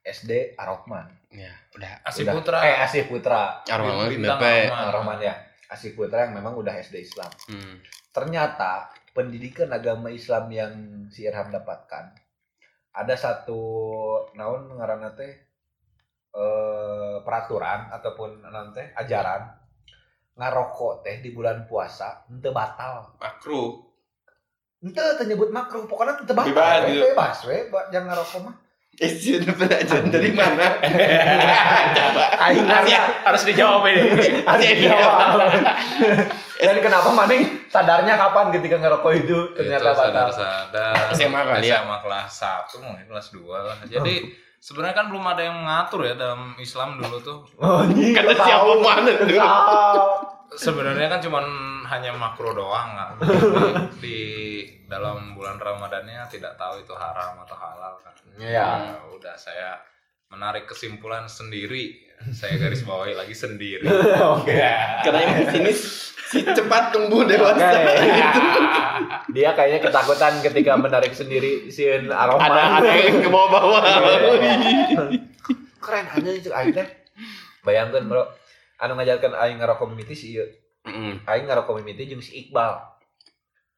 Speaker 2: SD Arokman
Speaker 3: Ya, udah.
Speaker 4: Asih
Speaker 2: Udah.
Speaker 4: Putra.
Speaker 2: eh
Speaker 6: Ah.
Speaker 2: Asih Putra
Speaker 3: Arwah banget
Speaker 4: Bintang
Speaker 3: BP.
Speaker 4: Arwah.
Speaker 2: Arokman ya Asih Putra yang memang udah SD Islam
Speaker 3: Hmm.
Speaker 2: ternyata pendidikan agama Islam yang si Irham dapatkan ada satu naon ngaranna teh eh, peraturan ataupun naon teh ajaran ngarokok teh di bulan puasa ente batal
Speaker 6: makro
Speaker 2: ente ternyebut makruh pokoknya ente batal
Speaker 6: Bebas
Speaker 2: we,
Speaker 6: gitu.
Speaker 2: bebas we ba- jangan ngarokok mah
Speaker 3: Eh, sudah pelajaran dari mana? (laughs) Coba.
Speaker 2: aing
Speaker 6: Harusnya harus dijawab
Speaker 3: (laughs)
Speaker 6: ini.
Speaker 2: Harus dijawab. (laughs) dan kenapa maning sadarnya kapan ketika ngerokok itu ternyata
Speaker 4: Itu
Speaker 2: batal
Speaker 4: sadar-sadar.
Speaker 3: SMA kali ya?
Speaker 4: SMA kelas 1 mungkin kelas 2 lah. Jadi sebenarnya kan belum ada yang mengatur ya dalam Islam dulu tuh.
Speaker 2: oh, ini
Speaker 6: Kata
Speaker 2: lu
Speaker 6: siapa
Speaker 2: tahu.
Speaker 6: mana
Speaker 2: Lu
Speaker 6: dulu?
Speaker 2: tahu.
Speaker 4: Sebenarnya kan cuman hanya makro
Speaker 2: (laughs)
Speaker 4: doang kan. Di, di dalam bulan Ramadannya tidak tahu itu haram atau halal kan.
Speaker 2: Iya.
Speaker 4: Ya, udah saya menarik kesimpulan sendiri. Saya garis bawahi lagi
Speaker 2: (laughs)
Speaker 4: sendiri.
Speaker 2: Oke.
Speaker 3: Karena yang di sini si cepat tumbuh dewasa.
Speaker 2: Dia kayaknya ketakutan ketika menarik sendiri si aroma.
Speaker 3: Ada ada yang ke bawah-bawah. Iya.
Speaker 2: Keren aja itu aing teh. Bayangkeun, Bro. Anu ngajarkan aing ngerokok mimiti si ieu.
Speaker 3: Mm.
Speaker 2: Aing ngerokok mimiti jeung si Iqbal.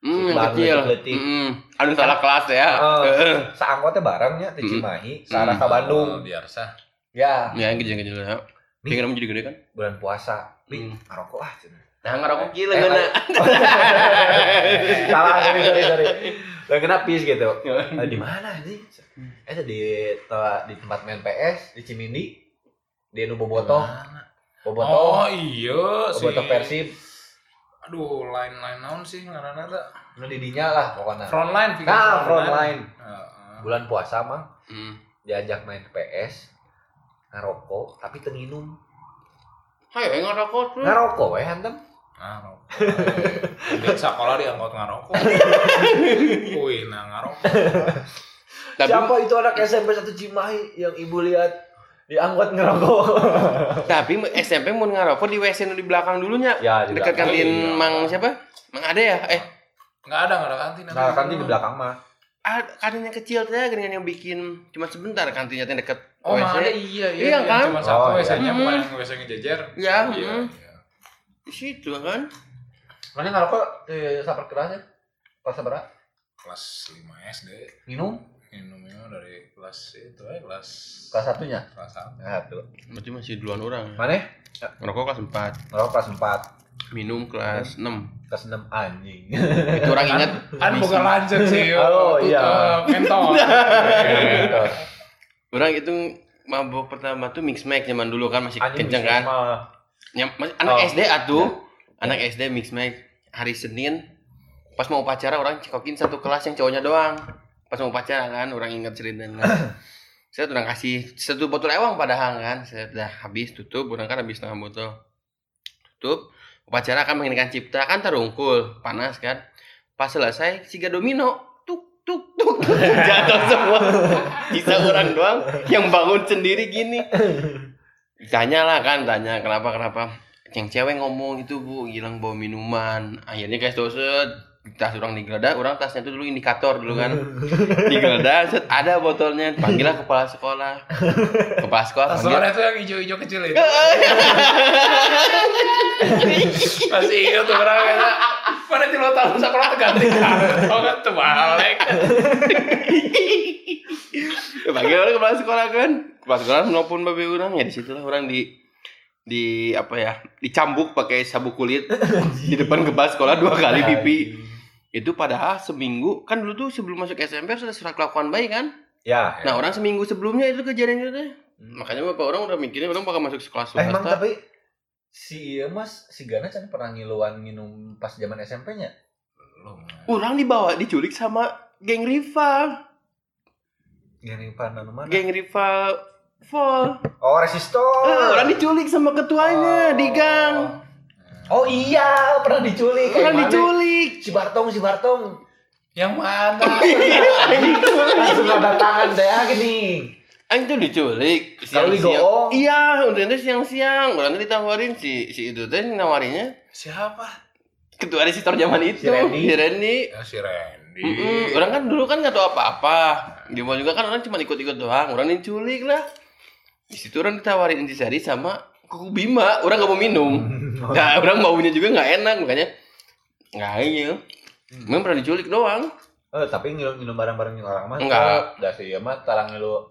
Speaker 3: Mm,
Speaker 2: Baru
Speaker 3: kecil.
Speaker 2: letih-letih.
Speaker 3: Mm. Aduh salah kelas ya.
Speaker 2: Heeh. Saangkotnya bareng nya di
Speaker 3: Mm.
Speaker 2: Cimahi, sarah
Speaker 4: Hmm.
Speaker 2: ka Bandung.
Speaker 4: Oh, biar sah.
Speaker 2: Ya,
Speaker 3: Ya, yang kecil-kecil ya.
Speaker 2: Nih.
Speaker 3: Pikiran jadi gede kan?
Speaker 2: bulan puasa. Nih,
Speaker 3: Mm.
Speaker 2: ngerokok ah. cenah.
Speaker 3: Nah, ngerokok gila
Speaker 2: Eh,
Speaker 3: gana.
Speaker 2: (laughs) Salah, sorry, sorry, sorry. Lah kena pis gitu. Eh, di mana sih? Eh di di tempat main PS di Cimindi. Di Nu Bobotoh. Bobotoh.
Speaker 4: Oh iya sih.
Speaker 2: Bobotoh Persib.
Speaker 4: Aduh, lain-lain naon sih ngaranna teh?
Speaker 2: Nu di dinya Anu lah pokoknya.
Speaker 4: Frontline Ah, pikir
Speaker 2: Nah, frontline.
Speaker 4: Heeh.
Speaker 2: Bulan puasa mah
Speaker 3: Hmm.
Speaker 2: diajak main PS. Ngerokok, tapi tenginum.
Speaker 3: Hai, yang ngerokok tuh.
Speaker 2: Ngerokok weh hantem.
Speaker 4: Ngarokok. Ah, Di sekolah diangkut
Speaker 2: (laughs)
Speaker 4: ngarokok. Wih, nah ngarokok.
Speaker 3: Tapi
Speaker 2: Siapa itu anak SMP satu Cimahi yang ibu lihat diangkut ngerokok?
Speaker 3: tapi SMP mau ngerokok di WC nu di belakang dulunya.
Speaker 2: ya, di
Speaker 3: Dekat
Speaker 2: belakang.
Speaker 3: kantin
Speaker 4: Iya.
Speaker 3: Mang siapa? Mang ada ya? Eh,
Speaker 4: Enggak ada, enggak ada kantin.
Speaker 2: Nah, kantin di belakang mah.
Speaker 3: Ah, kantin yang kecil teh dengan yang bikin cuma sebentar kantinnya teh deket
Speaker 4: Oh,
Speaker 3: WC.
Speaker 4: mah ada iya, iya.
Speaker 3: Iya,
Speaker 4: yang
Speaker 3: kan?
Speaker 4: Cuma
Speaker 2: Oh,
Speaker 4: satu
Speaker 2: iya.
Speaker 4: WC-nya, bukan
Speaker 3: Hmm.
Speaker 4: yang WC ngejejer.
Speaker 3: Iya,
Speaker 4: iya.
Speaker 3: hmm. di situ kan
Speaker 2: Mana ngerokok eh sabar kerasnya? Pas sabar ah.
Speaker 4: Kelas 5 SD.
Speaker 2: minum
Speaker 4: Minumnya dari kelas itu eh kelas
Speaker 2: kelas satunya.
Speaker 4: kelas satu.
Speaker 2: Satu.
Speaker 3: berarti masih duluan orang
Speaker 2: Mana?
Speaker 3: ngerokok kelas
Speaker 2: Ngerokok kelas 4,
Speaker 3: 4 minum kelas 6
Speaker 2: kelas 6 anjing.
Speaker 3: (laughs) itu orang ingat
Speaker 4: Kan bukan lanjut sih.
Speaker 2: Oh, iya.
Speaker 3: (laughs)
Speaker 4: tutup, eh, Mentol.
Speaker 2: Gitu.
Speaker 3: orang itu mabok pertama tuh mix max zaman dulu kan masih
Speaker 2: Anjing
Speaker 3: kenceng
Speaker 2: bisnis
Speaker 3: kan
Speaker 2: mah.
Speaker 3: Nyam- mas- anak
Speaker 2: Oh.
Speaker 3: SD atuh anak SD mix max hari Senin pas mau pacaran orang cekokin satu kelas yang cowoknya doang pas mau pacaran kan orang ingat ceritanya saya orang kasih satu botol ewang padahal kan saya udah habis tutup orang kan habis setengah botol tutup upacara akan menginginkan cipta kan terungkul panas kan pas selesai siga domino tuk tuk tuk (laughs) jatuh semua bisa orang doang yang bangun sendiri gini tanya lah kan tanya kenapa kenapa yang cewek ngomong itu bu bilang bawa minuman akhirnya guys doset tas orang digeledah orang tasnya itu dulu indikator dulu kan digeledah set ada botolnya panggillah kepala sekolah kepala sekolah
Speaker 4: Kelas
Speaker 3: panggil
Speaker 4: sore itu yang hijau-hijau kecil
Speaker 3: (laughs)
Speaker 4: itu. Masih ingat tuh orang kata mana di lo tahu sekolah ganti
Speaker 3: (laughs)
Speaker 4: kantong tuh balik.
Speaker 3: panggil orang kepala sekolah kan kepala sekolah nelfon babe orang ya disitulah orang di di apa ya dicambuk pakai sabuk kulit di depan kepala sekolah dua kali pipi itu padahal seminggu kan dulu tuh sebelum masuk SMP harus ada surat kelakuan bayi kan
Speaker 2: Ya.
Speaker 3: nah orang seminggu sebelumnya itu kejadian itu teh makanya bapak orang udah mikirnya orang bakal masuk sekolah
Speaker 2: Hmm. Eh, emang
Speaker 3: swasta
Speaker 2: tapi si iya, Mas si Gana kan pernah ngiluan minum pas zaman SMP-nya.
Speaker 3: orang dibawa diculik sama geng rival
Speaker 2: Gini panan mana?
Speaker 3: geng rival Vol
Speaker 2: Oh, resistor.
Speaker 3: Eh, orang diculik sama ketuanya di gang
Speaker 2: Oh iya, pernah diculik.
Speaker 3: orang
Speaker 2: Kayak mana?
Speaker 3: diculik
Speaker 2: Si Bartong, si Bartong.
Speaker 4: Yang mana?
Speaker 2: Langsung Kan ada tangan deh ah, gini.
Speaker 3: (laughs) Aing tuh diculik
Speaker 2: Kalau
Speaker 3: siang-siang.
Speaker 2: digoong.
Speaker 3: Iya, udah nanti siang-siang. Orang tadi ditawarin si si itu teh nawarinnya
Speaker 4: Siapa?
Speaker 3: ketua resistor zaman
Speaker 2: Si
Speaker 3: itu
Speaker 2: Randy. Hmm.
Speaker 3: si Randy.
Speaker 4: Ya, si Randy.
Speaker 3: Mm-mm. Orang kan dulu kan nggak tahu apa-apa. Di mall juga kan orang cuma ikut-ikut doang. Orang diculik lah. Di situ orang ditawarin intisari sama kuku bima. Orang nggak mau minum.
Speaker 2: Hmm.
Speaker 3: Nah, orang maunya juga nggak enak makanya nggak iya.
Speaker 2: Hmm.
Speaker 3: Memang pernah diculik doang.
Speaker 2: Eh, tapi ngilu ngilu barang-barang yang orang mah.
Speaker 3: Enggak.
Speaker 2: tau. Enggak sih, ya mah tarang ngilu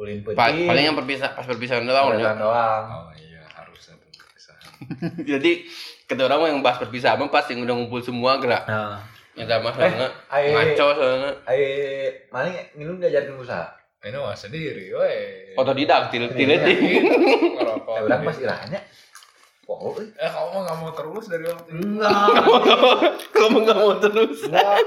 Speaker 2: ulin peti.
Speaker 3: Pa- paling yang ya. perpisah, pas perpisahan
Speaker 2: orang
Speaker 3: doang. orangnya.
Speaker 2: doang.
Speaker 4: Oh iya, harus satu kesan.
Speaker 3: Jadi kata orang mah yang bahas perpisahan mah pasti udah ngumpul semua gerak.
Speaker 2: Nah,
Speaker 3: Nyata mah soalnya
Speaker 2: ai
Speaker 3: ngaco soalnya
Speaker 2: ai mana ngilu diajarin usaha.
Speaker 4: Ini mah sendiri, weh. Iya,
Speaker 3: otodidak til
Speaker 4: (laughs)
Speaker 3: tileting.
Speaker 4: Ngerokok.
Speaker 2: Eh, orang pas irahnya. Wow, eh.
Speaker 4: Eh, kamu mah nggak mau terus dari waktu itu.
Speaker 2: enggak.
Speaker 3: Kamu nggak mau terus.
Speaker 2: Enggak.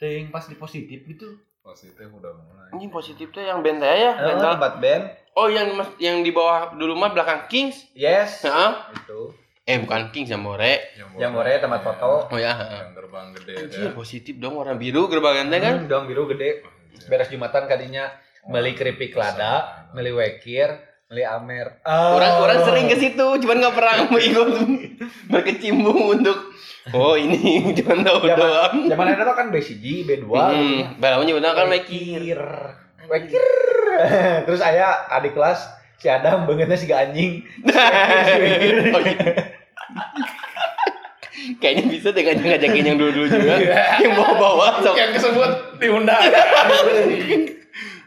Speaker 2: Ting pas di positif gitu.
Speaker 4: Positif udah mulai.
Speaker 3: Ini positif tuh yang band saya ya,
Speaker 2: Nah,
Speaker 3: mental.
Speaker 2: tempat band.
Speaker 3: Oh yang mas- yang di bawah dulu mah belakang Kings.
Speaker 2: Yes.
Speaker 3: Heeh.
Speaker 2: Itu.
Speaker 3: Eh bukan Kings yang more.
Speaker 2: Jamboree tempat foto.
Speaker 3: Oh ya. heeh.
Speaker 4: iya, Yang gerbang gede
Speaker 3: Anjir positif dong warna biru gerbangnya kan.
Speaker 2: Hmm, dong biru gede. Beres jumatan kadinya beli keripik lada, beli wekir, beli amer. Oh.
Speaker 3: Orang-orang sering ke situ, cuman nggak pernah mau ikut berkecimpung untuk oh ini (laughs) cuman tahu
Speaker 2: Zaman-
Speaker 3: gitu doang.
Speaker 2: Zaman itu kan BCG, B2.
Speaker 3: Hmm, balapnya benar kan Mekir.
Speaker 2: Wekir. (laughs) Terus saya adik kelas si Adam bangetnya si anjing. (laughs) Wekir.
Speaker 3: Oh, iya. Kayaknya bisa deh ngajak-ngajakin yang dulu-dulu
Speaker 2: (laughs)
Speaker 3: juga Yang bawa-bawa sok.
Speaker 4: Yang kesebut diundang.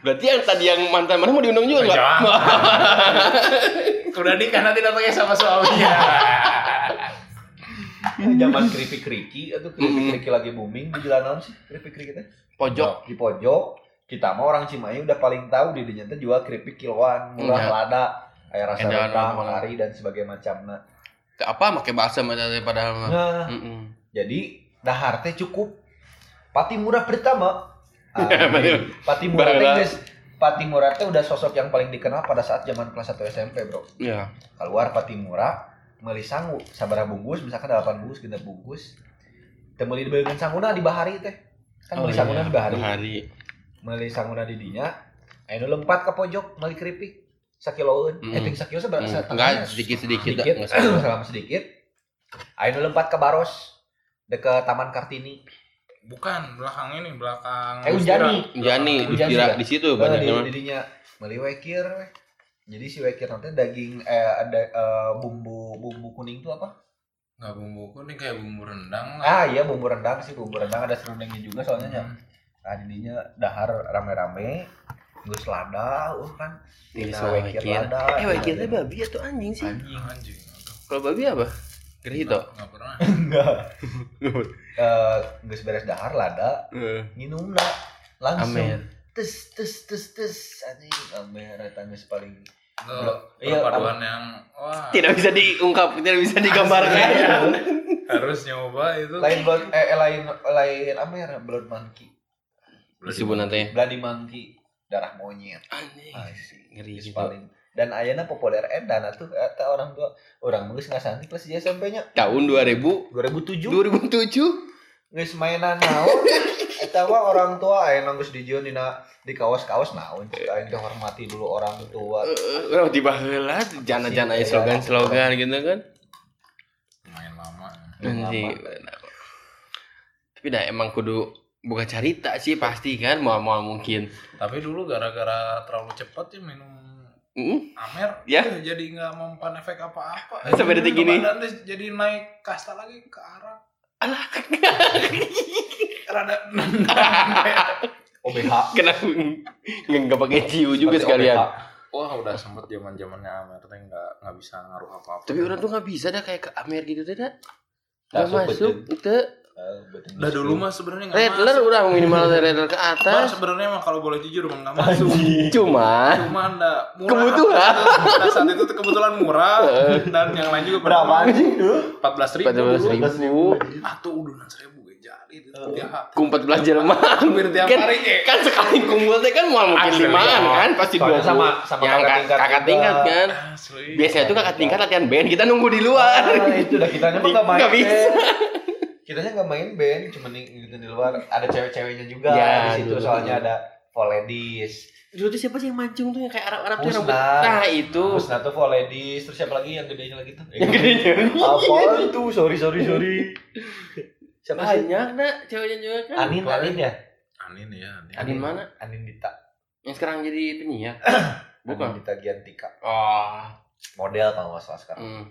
Speaker 3: Berarti yang tadi yang mantan mana mau diundang
Speaker 2: Iya.
Speaker 3: juga nggak?
Speaker 4: (laughs)
Speaker 3: (laughs)
Speaker 4: Jangan. Udah nikah nanti datangnya sama suaminya.
Speaker 2: Zaman keripik keriki atau keripik keriki lagi booming di jalan naon sih keripik kerikitnya?
Speaker 3: Pojok
Speaker 2: di pojok kita mah orang Cimahi udah paling tahu di dinya teh jual keripik kiloan murah
Speaker 3: Iya.
Speaker 2: lada air rasa
Speaker 3: Edan,
Speaker 2: rendang
Speaker 3: edan.
Speaker 2: kari dan sebagainya macamna
Speaker 3: ke apa pakai bahasa macam padahal mah.
Speaker 2: nah
Speaker 3: Mm-mm.
Speaker 2: jadi dahar teh cukup pati murah pertama Ah,
Speaker 3: Betul.
Speaker 2: pati murah teh
Speaker 3: Barulah.
Speaker 2: guys pati murah teh udah sosok yang paling dikenal pada saat zaman kelas 1 SMP bro
Speaker 3: Ya.
Speaker 2: keluar pati murah meuli sangu sabaraha bungkus misalkan 8 bungkus genep bungkus teu meuli dengan sanguna di bahari teh kan meuli
Speaker 3: iya.
Speaker 2: sanguna di bahari
Speaker 3: Oh, Bahari.
Speaker 2: meli sanguna di dinya ayo lompat ke pojok meli keripik sakiloan
Speaker 3: Mm.
Speaker 2: mm. eting sakilo seberapa
Speaker 3: Hmm, Enggak sedikit-sedikit dah,
Speaker 2: sedikit
Speaker 3: enggak salah.
Speaker 2: salam sedikit ayo lompat ke baros dekat taman kartini
Speaker 4: Bukan, belakang ini, belakang.
Speaker 2: Eh,
Speaker 3: Ah,
Speaker 2: Unjani.
Speaker 3: Jani
Speaker 2: Hujan
Speaker 3: dikira
Speaker 2: juga.
Speaker 3: di situ
Speaker 2: Eh, di,
Speaker 3: banyaknya. mah.
Speaker 2: di dinya meli wekir weh. jadi si wekir nanti daging eh ada eh, bumbu bumbu kuning itu apa
Speaker 4: Enggak bumbu kuning kayak bumbu rendang lah.
Speaker 2: ah iya bumbu rendang sih bumbu rendang ada serundengnya juga soalnya ya nah didinya dahar rame-rame Gue selada, uh kan.
Speaker 3: Iya,
Speaker 2: Nah,
Speaker 3: sama Wekir.
Speaker 2: lada,
Speaker 3: Eh, Wekir teh
Speaker 2: Anjing.
Speaker 3: babi atau anjing sih?
Speaker 4: Anjing, anjing. aduh.
Speaker 3: Kalau babi apa? Gerhito.
Speaker 4: Nggak- nggak pernah.
Speaker 2: Enggak. Eh, geus beres dahar lada, nginumna langsung.
Speaker 3: Amer.
Speaker 2: Tes tes tes tes anjing amer eta geus paling.
Speaker 4: Itu
Speaker 2: Iya,
Speaker 4: Eh, perpaduan yang wah.
Speaker 3: Tidak bisa diungkap, tidak bisa digambarkan.
Speaker 4: Harus nyoba itu.
Speaker 2: Lain blood eh eh, lain lain amer blood monkey.
Speaker 3: Disebut nanti.
Speaker 2: Bloody monkey darah monyet.
Speaker 3: Anjing. Ngeri
Speaker 2: Geus
Speaker 3: gitu.
Speaker 2: paling. Dan ayana populer edan atuh eta orang tua orang geus ngasanti kelas di SMP-nya
Speaker 3: Tahun 2000
Speaker 2: 2007
Speaker 3: 2007
Speaker 2: geus mainan naon. Eta mah orang tua aya geus dijieun dina di kaos-kaos naon.
Speaker 3: Iya.
Speaker 2: Aing teh hormati dulu orang tua.
Speaker 3: Eh, orang tiba heula jana-jana aya slogan-slogan gitu kan.
Speaker 4: Main lama.
Speaker 3: Anjing. Tapi dah emang kudu bukan cerita sih pasti kan mau mau mungkin.
Speaker 4: Tapi dulu gara-gara terlalu cepat sih minum
Speaker 3: Mm.
Speaker 4: Amer
Speaker 3: Ya.
Speaker 4: eh, jadi nggak mempan efek apa-apa.
Speaker 3: Sampai detik ini.
Speaker 4: Badan tuh jadi naik kasta lagi ke arah
Speaker 3: (laughs)
Speaker 4: rada
Speaker 2: OBH.
Speaker 3: Kenapa nggak nggak pakai ciu juga
Speaker 2: Pakai
Speaker 3: sekalian?
Speaker 2: OBH.
Speaker 4: Wah udah sempet zaman zamannya Amer teh nggak nggak bisa ngaruh apa-apa.
Speaker 3: Tapi orang tuh nggak bisa dah kayak ke Amer gitu tuh dah. Nggak
Speaker 2: Nggak
Speaker 3: masuk itu
Speaker 2: Eh, betul.
Speaker 4: udah dulu mah sebenarnya nggak
Speaker 3: redler
Speaker 4: masuk.
Speaker 3: udah minimal redler ke
Speaker 4: Bang,
Speaker 3: atas.
Speaker 4: sebenarnya mah kalau boleh jujur mah nggak masuk.
Speaker 3: Cuma
Speaker 4: Cuma anda murah.
Speaker 3: Kebutuhan.
Speaker 4: Pada saat itu tuh kebetulan murah dan yang lain juga
Speaker 2: (laughs) berapa anjing dulu?
Speaker 4: Empat belas ribu.
Speaker 3: empat belas ribu.
Speaker 4: Atau udah seribu jadi itu tiap hari.
Speaker 3: Ku empat belas jelema.
Speaker 4: Hampir tiap
Speaker 3: Kan-
Speaker 4: hari ya.
Speaker 3: Kan sekali kumpul teh kan mau mungkin
Speaker 4: Asli,
Speaker 3: limaan
Speaker 4: ya.
Speaker 3: kan pasti dua
Speaker 2: Soalnya sama sama
Speaker 3: Yang kakak tingkat, kakak tingkat
Speaker 2: juga.
Speaker 3: kan.
Speaker 4: Asli.
Speaker 3: Biasanya tuh kakak tingkat latihan band kita nunggu di luar.
Speaker 2: Ah, itu dah kitanya mah nggak main.
Speaker 3: Nggak bisa.
Speaker 2: band. Kitanya nggak main band, cuma nih gitu di luar. Ada cewek-ceweknya juga
Speaker 3: Ya,
Speaker 2: di situ.
Speaker 3: dulu.
Speaker 2: Soalnya ada for ladies.
Speaker 3: dulu tuh siapa sih yang mancung tuh yang kayak Arab-Arab tuh yang rambut
Speaker 2: Musnah.
Speaker 3: nah itu
Speaker 2: Musnah tuh for ladies, terus siapa lagi yang gedenya lagi tuh?
Speaker 3: (laughs) yang gedenya
Speaker 2: Apaan tuh? Sorry, sorry, sorry.
Speaker 3: (laughs)
Speaker 2: Siapa sih?
Speaker 3: banyak nak ceweknya juga kan
Speaker 2: Anin, Anin ya?
Speaker 4: Anin ya, Anin.
Speaker 3: Anin mana
Speaker 2: Anin Dita.
Speaker 3: yang sekarang jadi
Speaker 2: (coughs)
Speaker 3: penyiar
Speaker 2: Anin
Speaker 3: bukan
Speaker 2: Dita Giantika.
Speaker 3: oh
Speaker 2: Model kalau nggak salah sekarang.
Speaker 3: hmm.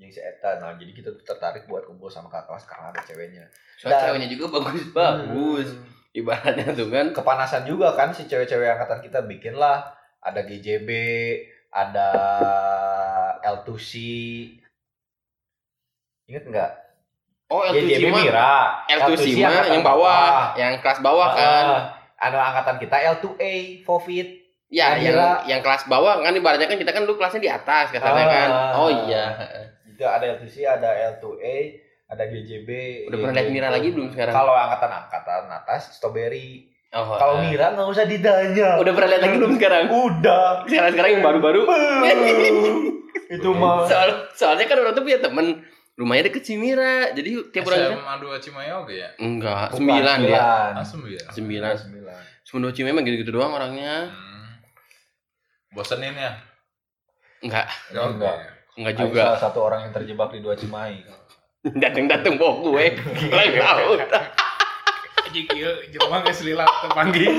Speaker 2: Yang si Eta. Nah, jadi kita tuh tertarik buat kumpul sama kakak kelas karena ada ceweknya.
Speaker 3: soalnya
Speaker 2: Dan- Hmm.
Speaker 3: ceweknya juga bagus bagus ibaratnya tuh kan
Speaker 2: Kepanasan juga kan si cewek-cewek angkatan kita bikin lah. Ada GJB, ada L2C. Ingat nggak?
Speaker 3: oh L2
Speaker 2: GJB
Speaker 3: Cima
Speaker 2: Mira.
Speaker 3: L2 Cima
Speaker 2: angkatan
Speaker 3: yang bawah yang kelas bawah kan
Speaker 2: Ah, anak angkatan kita L2A, Fovit. Yang
Speaker 3: Ya, yang
Speaker 2: Mira.
Speaker 3: yang kelas bawah kan ibaratnya kan kita kan dulu kelasnya di atas kasarnya
Speaker 2: Ah.
Speaker 3: kan. Oh iya.
Speaker 2: Itu Gitu, ada L2C, ada L2A, ada GJB.
Speaker 3: Udah pernah lihat Mira lagi belum sekarang?
Speaker 2: Kalau angkatan-angkatan atas Strawberry.
Speaker 3: Oh,
Speaker 2: Kalau
Speaker 3: ah.
Speaker 2: Mira nggak usah ditanya.
Speaker 3: udah pernah lihat lagi belum
Speaker 2: (laughs)
Speaker 3: sekarang?
Speaker 2: Udah.
Speaker 3: Sekarang sekarang yang baru-baru.
Speaker 2: itu mah
Speaker 3: (laughs) Soal, soalnya kan orang tuh punya temen rumahnya deket si Mira. Jadi tiap orang
Speaker 4: SMA 2 Cimayoga ya?
Speaker 3: enggak,
Speaker 2: Bukan,
Speaker 3: sembilan dia.
Speaker 4: Ah, sembilan.
Speaker 3: Sembilan.
Speaker 2: Sembilan.
Speaker 3: Semua cuma emang gitu-gitu doang orangnya.
Speaker 4: Hmm. Bosenin ya?
Speaker 3: Enggak,
Speaker 2: Enggak.
Speaker 4: Enggak. ya?
Speaker 3: enggak
Speaker 2: Ayo,
Speaker 3: juga. (laughs)
Speaker 2: Salah satu orang yang terjebak di dua Cimahi.
Speaker 3: Dateng-dateng bawa
Speaker 2: (laughs)
Speaker 3: gue. Lain tahu.
Speaker 4: Jadi kieu jelema geus lila tepanggi.
Speaker 3: (laughs)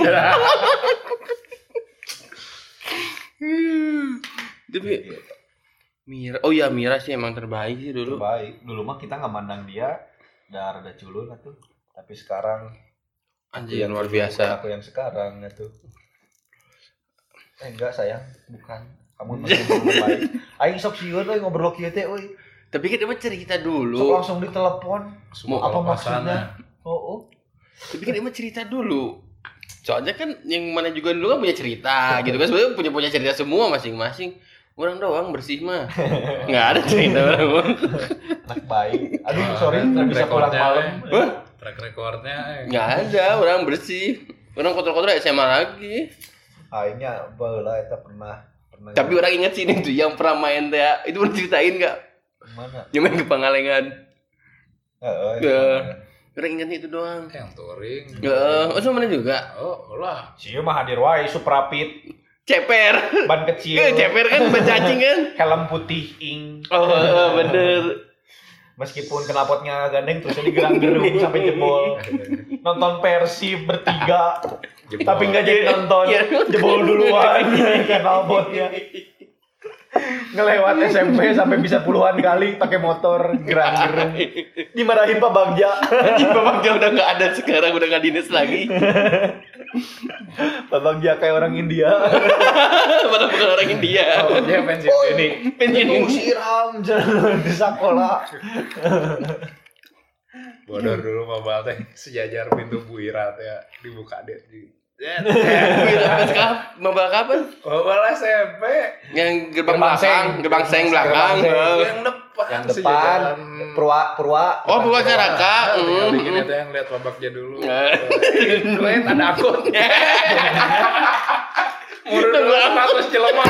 Speaker 3: Tapi
Speaker 2: Gitu.
Speaker 3: Mira, oh iya Mira sih emang terbaik sih
Speaker 2: Dulu
Speaker 3: dulu.
Speaker 2: baik. Dulu mah kita nggak mandang dia udah rada culun lah tuh. Tapi sekarang
Speaker 3: Anjir luar
Speaker 2: Iya,
Speaker 3: biasa.
Speaker 2: aku yang sekarang ya tuh. Eh enggak sayang, bukan.
Speaker 3: (laughs)
Speaker 2: Kamu masih belum baik. Aing sok sieur euy ngobrol kieu teh euy.
Speaker 3: Tapi kan emang cerita
Speaker 2: Sok
Speaker 3: dulu.
Speaker 2: langsung ditelepon.
Speaker 4: Semua
Speaker 2: Apa
Speaker 4: apa
Speaker 2: maksudnya?
Speaker 4: maksudnya?
Speaker 2: Oh, oh.
Speaker 3: Tapi kan emang cerita dulu. Soalnya kan yang mana juga dulu kan punya cerita gitu kan. Sebenarnya punya punya cerita semua masing-masing. Orang doang bersih (laughs) mah. Nggak ada cerita orang doang.
Speaker 2: Anak baik. Aduh,
Speaker 3: Iya,
Speaker 2: sorry
Speaker 3: kan
Speaker 2: nggak bisa pulang malam.
Speaker 3: Hah?
Speaker 4: Track recordnya eh.
Speaker 3: Nggak ada orang bersih. Orang kotor-kotor SMA lagi.
Speaker 2: Aingnya baheula eta pernah pernah
Speaker 3: Tapi orang inget sih ini tuh yang pernah main teh itu pernah ceritain nggak?
Speaker 2: mana?
Speaker 3: Yang main ke Pangalengan.
Speaker 2: Heeh.
Speaker 3: Ya.
Speaker 2: Ya.
Speaker 3: Orang ingetnya itu doang.
Speaker 4: yang touring.
Speaker 3: Heeh, oh sama mana juga.
Speaker 4: Oh, lah.
Speaker 2: Sieu mah hadir wae suprapit,
Speaker 3: Ceper.
Speaker 2: ban
Speaker 3: Eh,
Speaker 2: kecil,
Speaker 3: Ceper kan bercacing kan.
Speaker 2: helm putih ing.
Speaker 3: Oh, eh, bener.
Speaker 2: Meskipun knalpotnya gandeng terus digerang-gerung sampai jebol. Nonton Persib bertiga, tapi nggak jadi nonton.
Speaker 3: Iya.
Speaker 2: Jebol duluan knalpotnya. Ngelewat SMP sampai bisa puluhan kali pakai motor gerang-gerung. Dimarahin Pak Bagja.
Speaker 3: Anjing Babang Jauh udah gak ada sekarang udah gak dinas lagi
Speaker 2: Pak Bagja kayak orang India.
Speaker 3: (laughs) Padahal bukan orang India
Speaker 4: Oh, dia pensiun ini.
Speaker 3: Pensiun
Speaker 2: Siram jalan di sekolah. Iya.
Speaker 4: Bodor dulu mabal teh (laughs) sejajar pintu buirat ya dibuka deh.
Speaker 3: Mabal kapan?
Speaker 4: Mabal SMP
Speaker 3: Yang gerbang
Speaker 2: Gerbang
Speaker 3: belakang
Speaker 2: seng.
Speaker 3: Gerbang seng
Speaker 2: Gerbang
Speaker 3: belakang
Speaker 2: seng.
Speaker 3: Eh,
Speaker 4: yang depan
Speaker 2: Yang depan Purwa Purwa.
Speaker 3: Oh bukan Caraka
Speaker 4: Ah, tinggal
Speaker 3: Hmm,
Speaker 4: dikit
Speaker 3: hmm.
Speaker 4: itu yang lihat babaknya dulu.
Speaker 3: Eh.
Speaker 4: Lain ada akun. Murid dulu status jelema.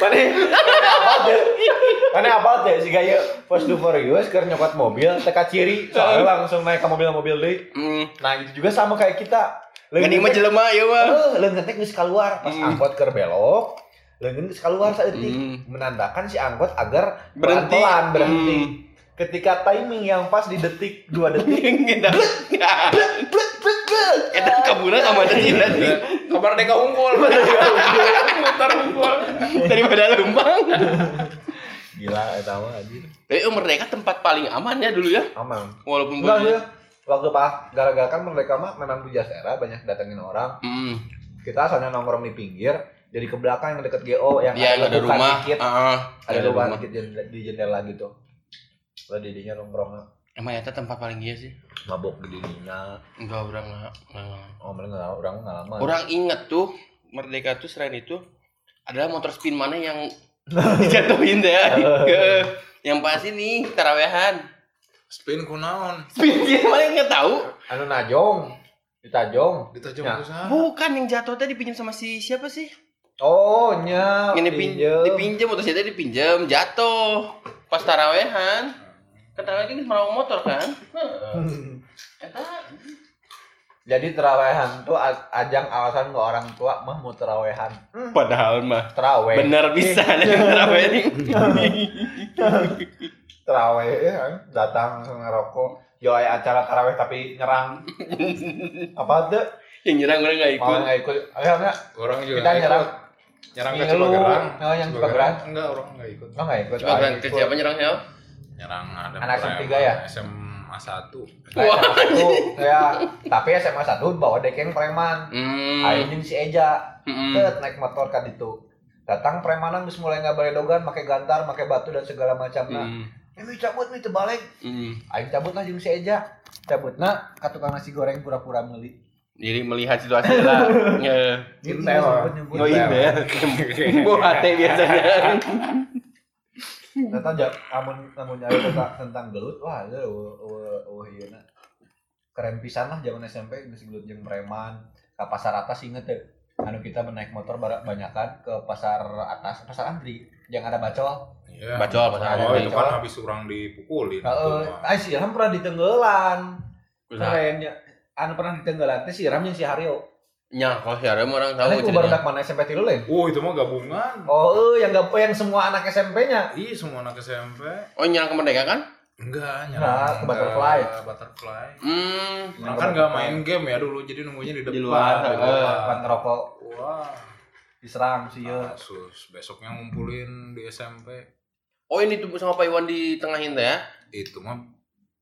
Speaker 2: Mana? ya? Mana apa teh? Mana apa teh si gaya pas do for you keur nyokot mobil teka ciri soalnya langsung naik ke mobil-mobil deui.
Speaker 3: Hmm.
Speaker 2: Nah, itu juga sama kayak kita.
Speaker 3: Mending mah jelema ya mah
Speaker 2: Eh, leungeun teh geus keluar pas
Speaker 3: Hmm.
Speaker 2: angkot keur belok. Leungeun geus keluar
Speaker 3: Hmm.
Speaker 2: saeutik menandakan si angkot agar
Speaker 3: Berhenti Hmm.
Speaker 2: pelan berhenti. Ketika timing yang pas di detik dua
Speaker 3: (laughs)
Speaker 2: detik. Ah.
Speaker 3: Kita
Speaker 2: Blek, blek, blek, blek.
Speaker 3: Kita kaburan Eh, sama tadi nanti
Speaker 4: Kabar deka unggul. Mutar unggul.
Speaker 3: Daripada Lembang
Speaker 2: Gila eta mah anjir.
Speaker 3: Tapi eh, Merdeka tempat paling aman ya dulu ya
Speaker 2: Aman.
Speaker 3: Walaupun
Speaker 2: Enggak
Speaker 3: bunyi.
Speaker 2: sih. Waktu pas gara-gara kan mereka mah memang di era banyak datengin orang.
Speaker 3: Hmm.
Speaker 2: Kita asalnya nongkrong di pinggir, jadi ke belakang yang deket GO yang
Speaker 3: Dia Iya, yang Ya, ada
Speaker 2: lubang
Speaker 3: rumah
Speaker 2: dikit,
Speaker 3: Ah,
Speaker 2: ada
Speaker 3: ada
Speaker 2: lubang
Speaker 3: rumah.
Speaker 2: dikit jend- di jendela gitu. Lah didinya nongkrong
Speaker 3: Emang ya tempat paling iya sih
Speaker 2: mabok di didinya.
Speaker 3: Enggak orang nggak nggak-
Speaker 2: Oh, mereka nggak orang ngalaman.
Speaker 3: Orang inget tuh Merdeka tuh selain itu adalah motor spin mana
Speaker 2: (laughs)
Speaker 3: yang
Speaker 2: Nah.
Speaker 3: dijatuhin deh. Heeh. (laughs) yang pas ini tarawehan.
Speaker 4: Spin kunaon?
Speaker 3: Spin (laughs) dia mana yang nggak tahu?
Speaker 2: anu najong, ditajong.
Speaker 4: Ditajam
Speaker 2: Ya.
Speaker 4: usaha.
Speaker 3: Bukan yang jatuh tadi dipinjam sama si siapa sih?
Speaker 2: Oh,
Speaker 3: (laughs)
Speaker 2: nya.
Speaker 3: Yang dipin
Speaker 2: pinjem.
Speaker 3: dipinjam motor saya tadi dipinjam jatuh pas tarawehan. Kan tarawehan kan mau motor kan? Eta,
Speaker 2: Jadi terawehan tuh a- ajang alasan ke orang tua mah mau terawehan.
Speaker 6: Padahal mah
Speaker 2: Teraweh.
Speaker 6: benar
Speaker 2: (laughs)
Speaker 6: bisa
Speaker 2: Teraweh ya kan? datang ngerokok. Yo ay, acara taraweh tapi
Speaker 3: (laughs)
Speaker 2: nyerang. Apa tuh?
Speaker 6: Yang nyerang orang nggak ikut.
Speaker 2: Malah nggak ikut. Akhirnya
Speaker 4: Orang juga
Speaker 2: kita
Speaker 4: nggak
Speaker 2: nyerang.
Speaker 4: ikut. Nyerang ke
Speaker 2: Ngeluh.
Speaker 4: Cipagerang.
Speaker 2: Oh, yang Cipagerang.
Speaker 4: Cipagerang. Enggak, orang nggak ikut.
Speaker 2: Oh nggak ikut.
Speaker 3: Coba
Speaker 2: Ah,
Speaker 3: berang
Speaker 2: ikut.
Speaker 3: ke siapa nyerang siapa?
Speaker 4: Nyerang ada
Speaker 2: Anak
Speaker 4: Preman,
Speaker 2: SMA ya?
Speaker 4: SMA
Speaker 2: (laughs)
Speaker 4: 1.
Speaker 2: Nah, SMA satu ya. Tapi SMA satu bawa dekeng preman.
Speaker 3: Hmm.
Speaker 2: Ayeuna si Eja.
Speaker 3: hmm.
Speaker 2: Tet naik motor kan itu. Datang premanan geus mulai ngabaredogan make gantar, make batu dan segala macamna.
Speaker 3: Hmm.
Speaker 2: Ini cabut nih tebalik.
Speaker 3: Hmm.
Speaker 2: Aing cabut lah jeung si Eja. Cabutna ka tukang nasi goreng pura-pura meuli.
Speaker 6: Jadi melihat situasi lah.
Speaker 2: (laughs)
Speaker 6: Ya.
Speaker 2: Intel.
Speaker 6: Oh iya
Speaker 2: (laughs)
Speaker 6: ya. Bu hati biasanya.
Speaker 2: Tata Nah, ja amun eh, amun nyari tentang, tentang gelut, wah ya eueuh ieu iya, Keren pisan lah zaman SMP geus gelut jeung preman. Ka pasar atas inget ya. Anu kita menaik motor bara- banyakan ke pasar atas, pasar Andri yang ada bacol.
Speaker 4: Iya.
Speaker 6: Bacol, bacol.
Speaker 4: Oh, itu kan
Speaker 2: Bacol.
Speaker 4: habis orang dipukulin.
Speaker 2: Heeh,
Speaker 4: Itu mah.
Speaker 2: ah si Ilham pernah ditenggelan. Keren ya. Anu pernah ditenggelan teh si Ilham jeung si Haryo.
Speaker 3: Nya, kalau si Arem orang tahu
Speaker 2: Tahu
Speaker 3: ceritanya.
Speaker 2: barudak mana SMP tilu lain.
Speaker 4: Oh, itu mah gabungan.
Speaker 2: Oh, eh, yang gak yang semua anak SMP-nya.
Speaker 4: Ih, semua anak SMP.
Speaker 3: Oh, nyerang ke Merdeka kan?
Speaker 2: Nah,
Speaker 4: Enggak,
Speaker 2: ke
Speaker 4: nyerang
Speaker 2: butterfly.
Speaker 4: Ke Butterfly.
Speaker 3: Hmm.
Speaker 4: Orang kan nggak main game ya dulu, jadi nunggunya di depan.
Speaker 6: luar,
Speaker 4: di
Speaker 6: eh,
Speaker 4: luar.
Speaker 2: Bukan ngerokok
Speaker 4: Wah.
Speaker 2: diserang sih ya.
Speaker 4: Kasus. Besoknya ngumpulin di SMP.
Speaker 3: Oh, ini tuh sama Pak Iwan di tengahin teh ya?
Speaker 4: Itu mah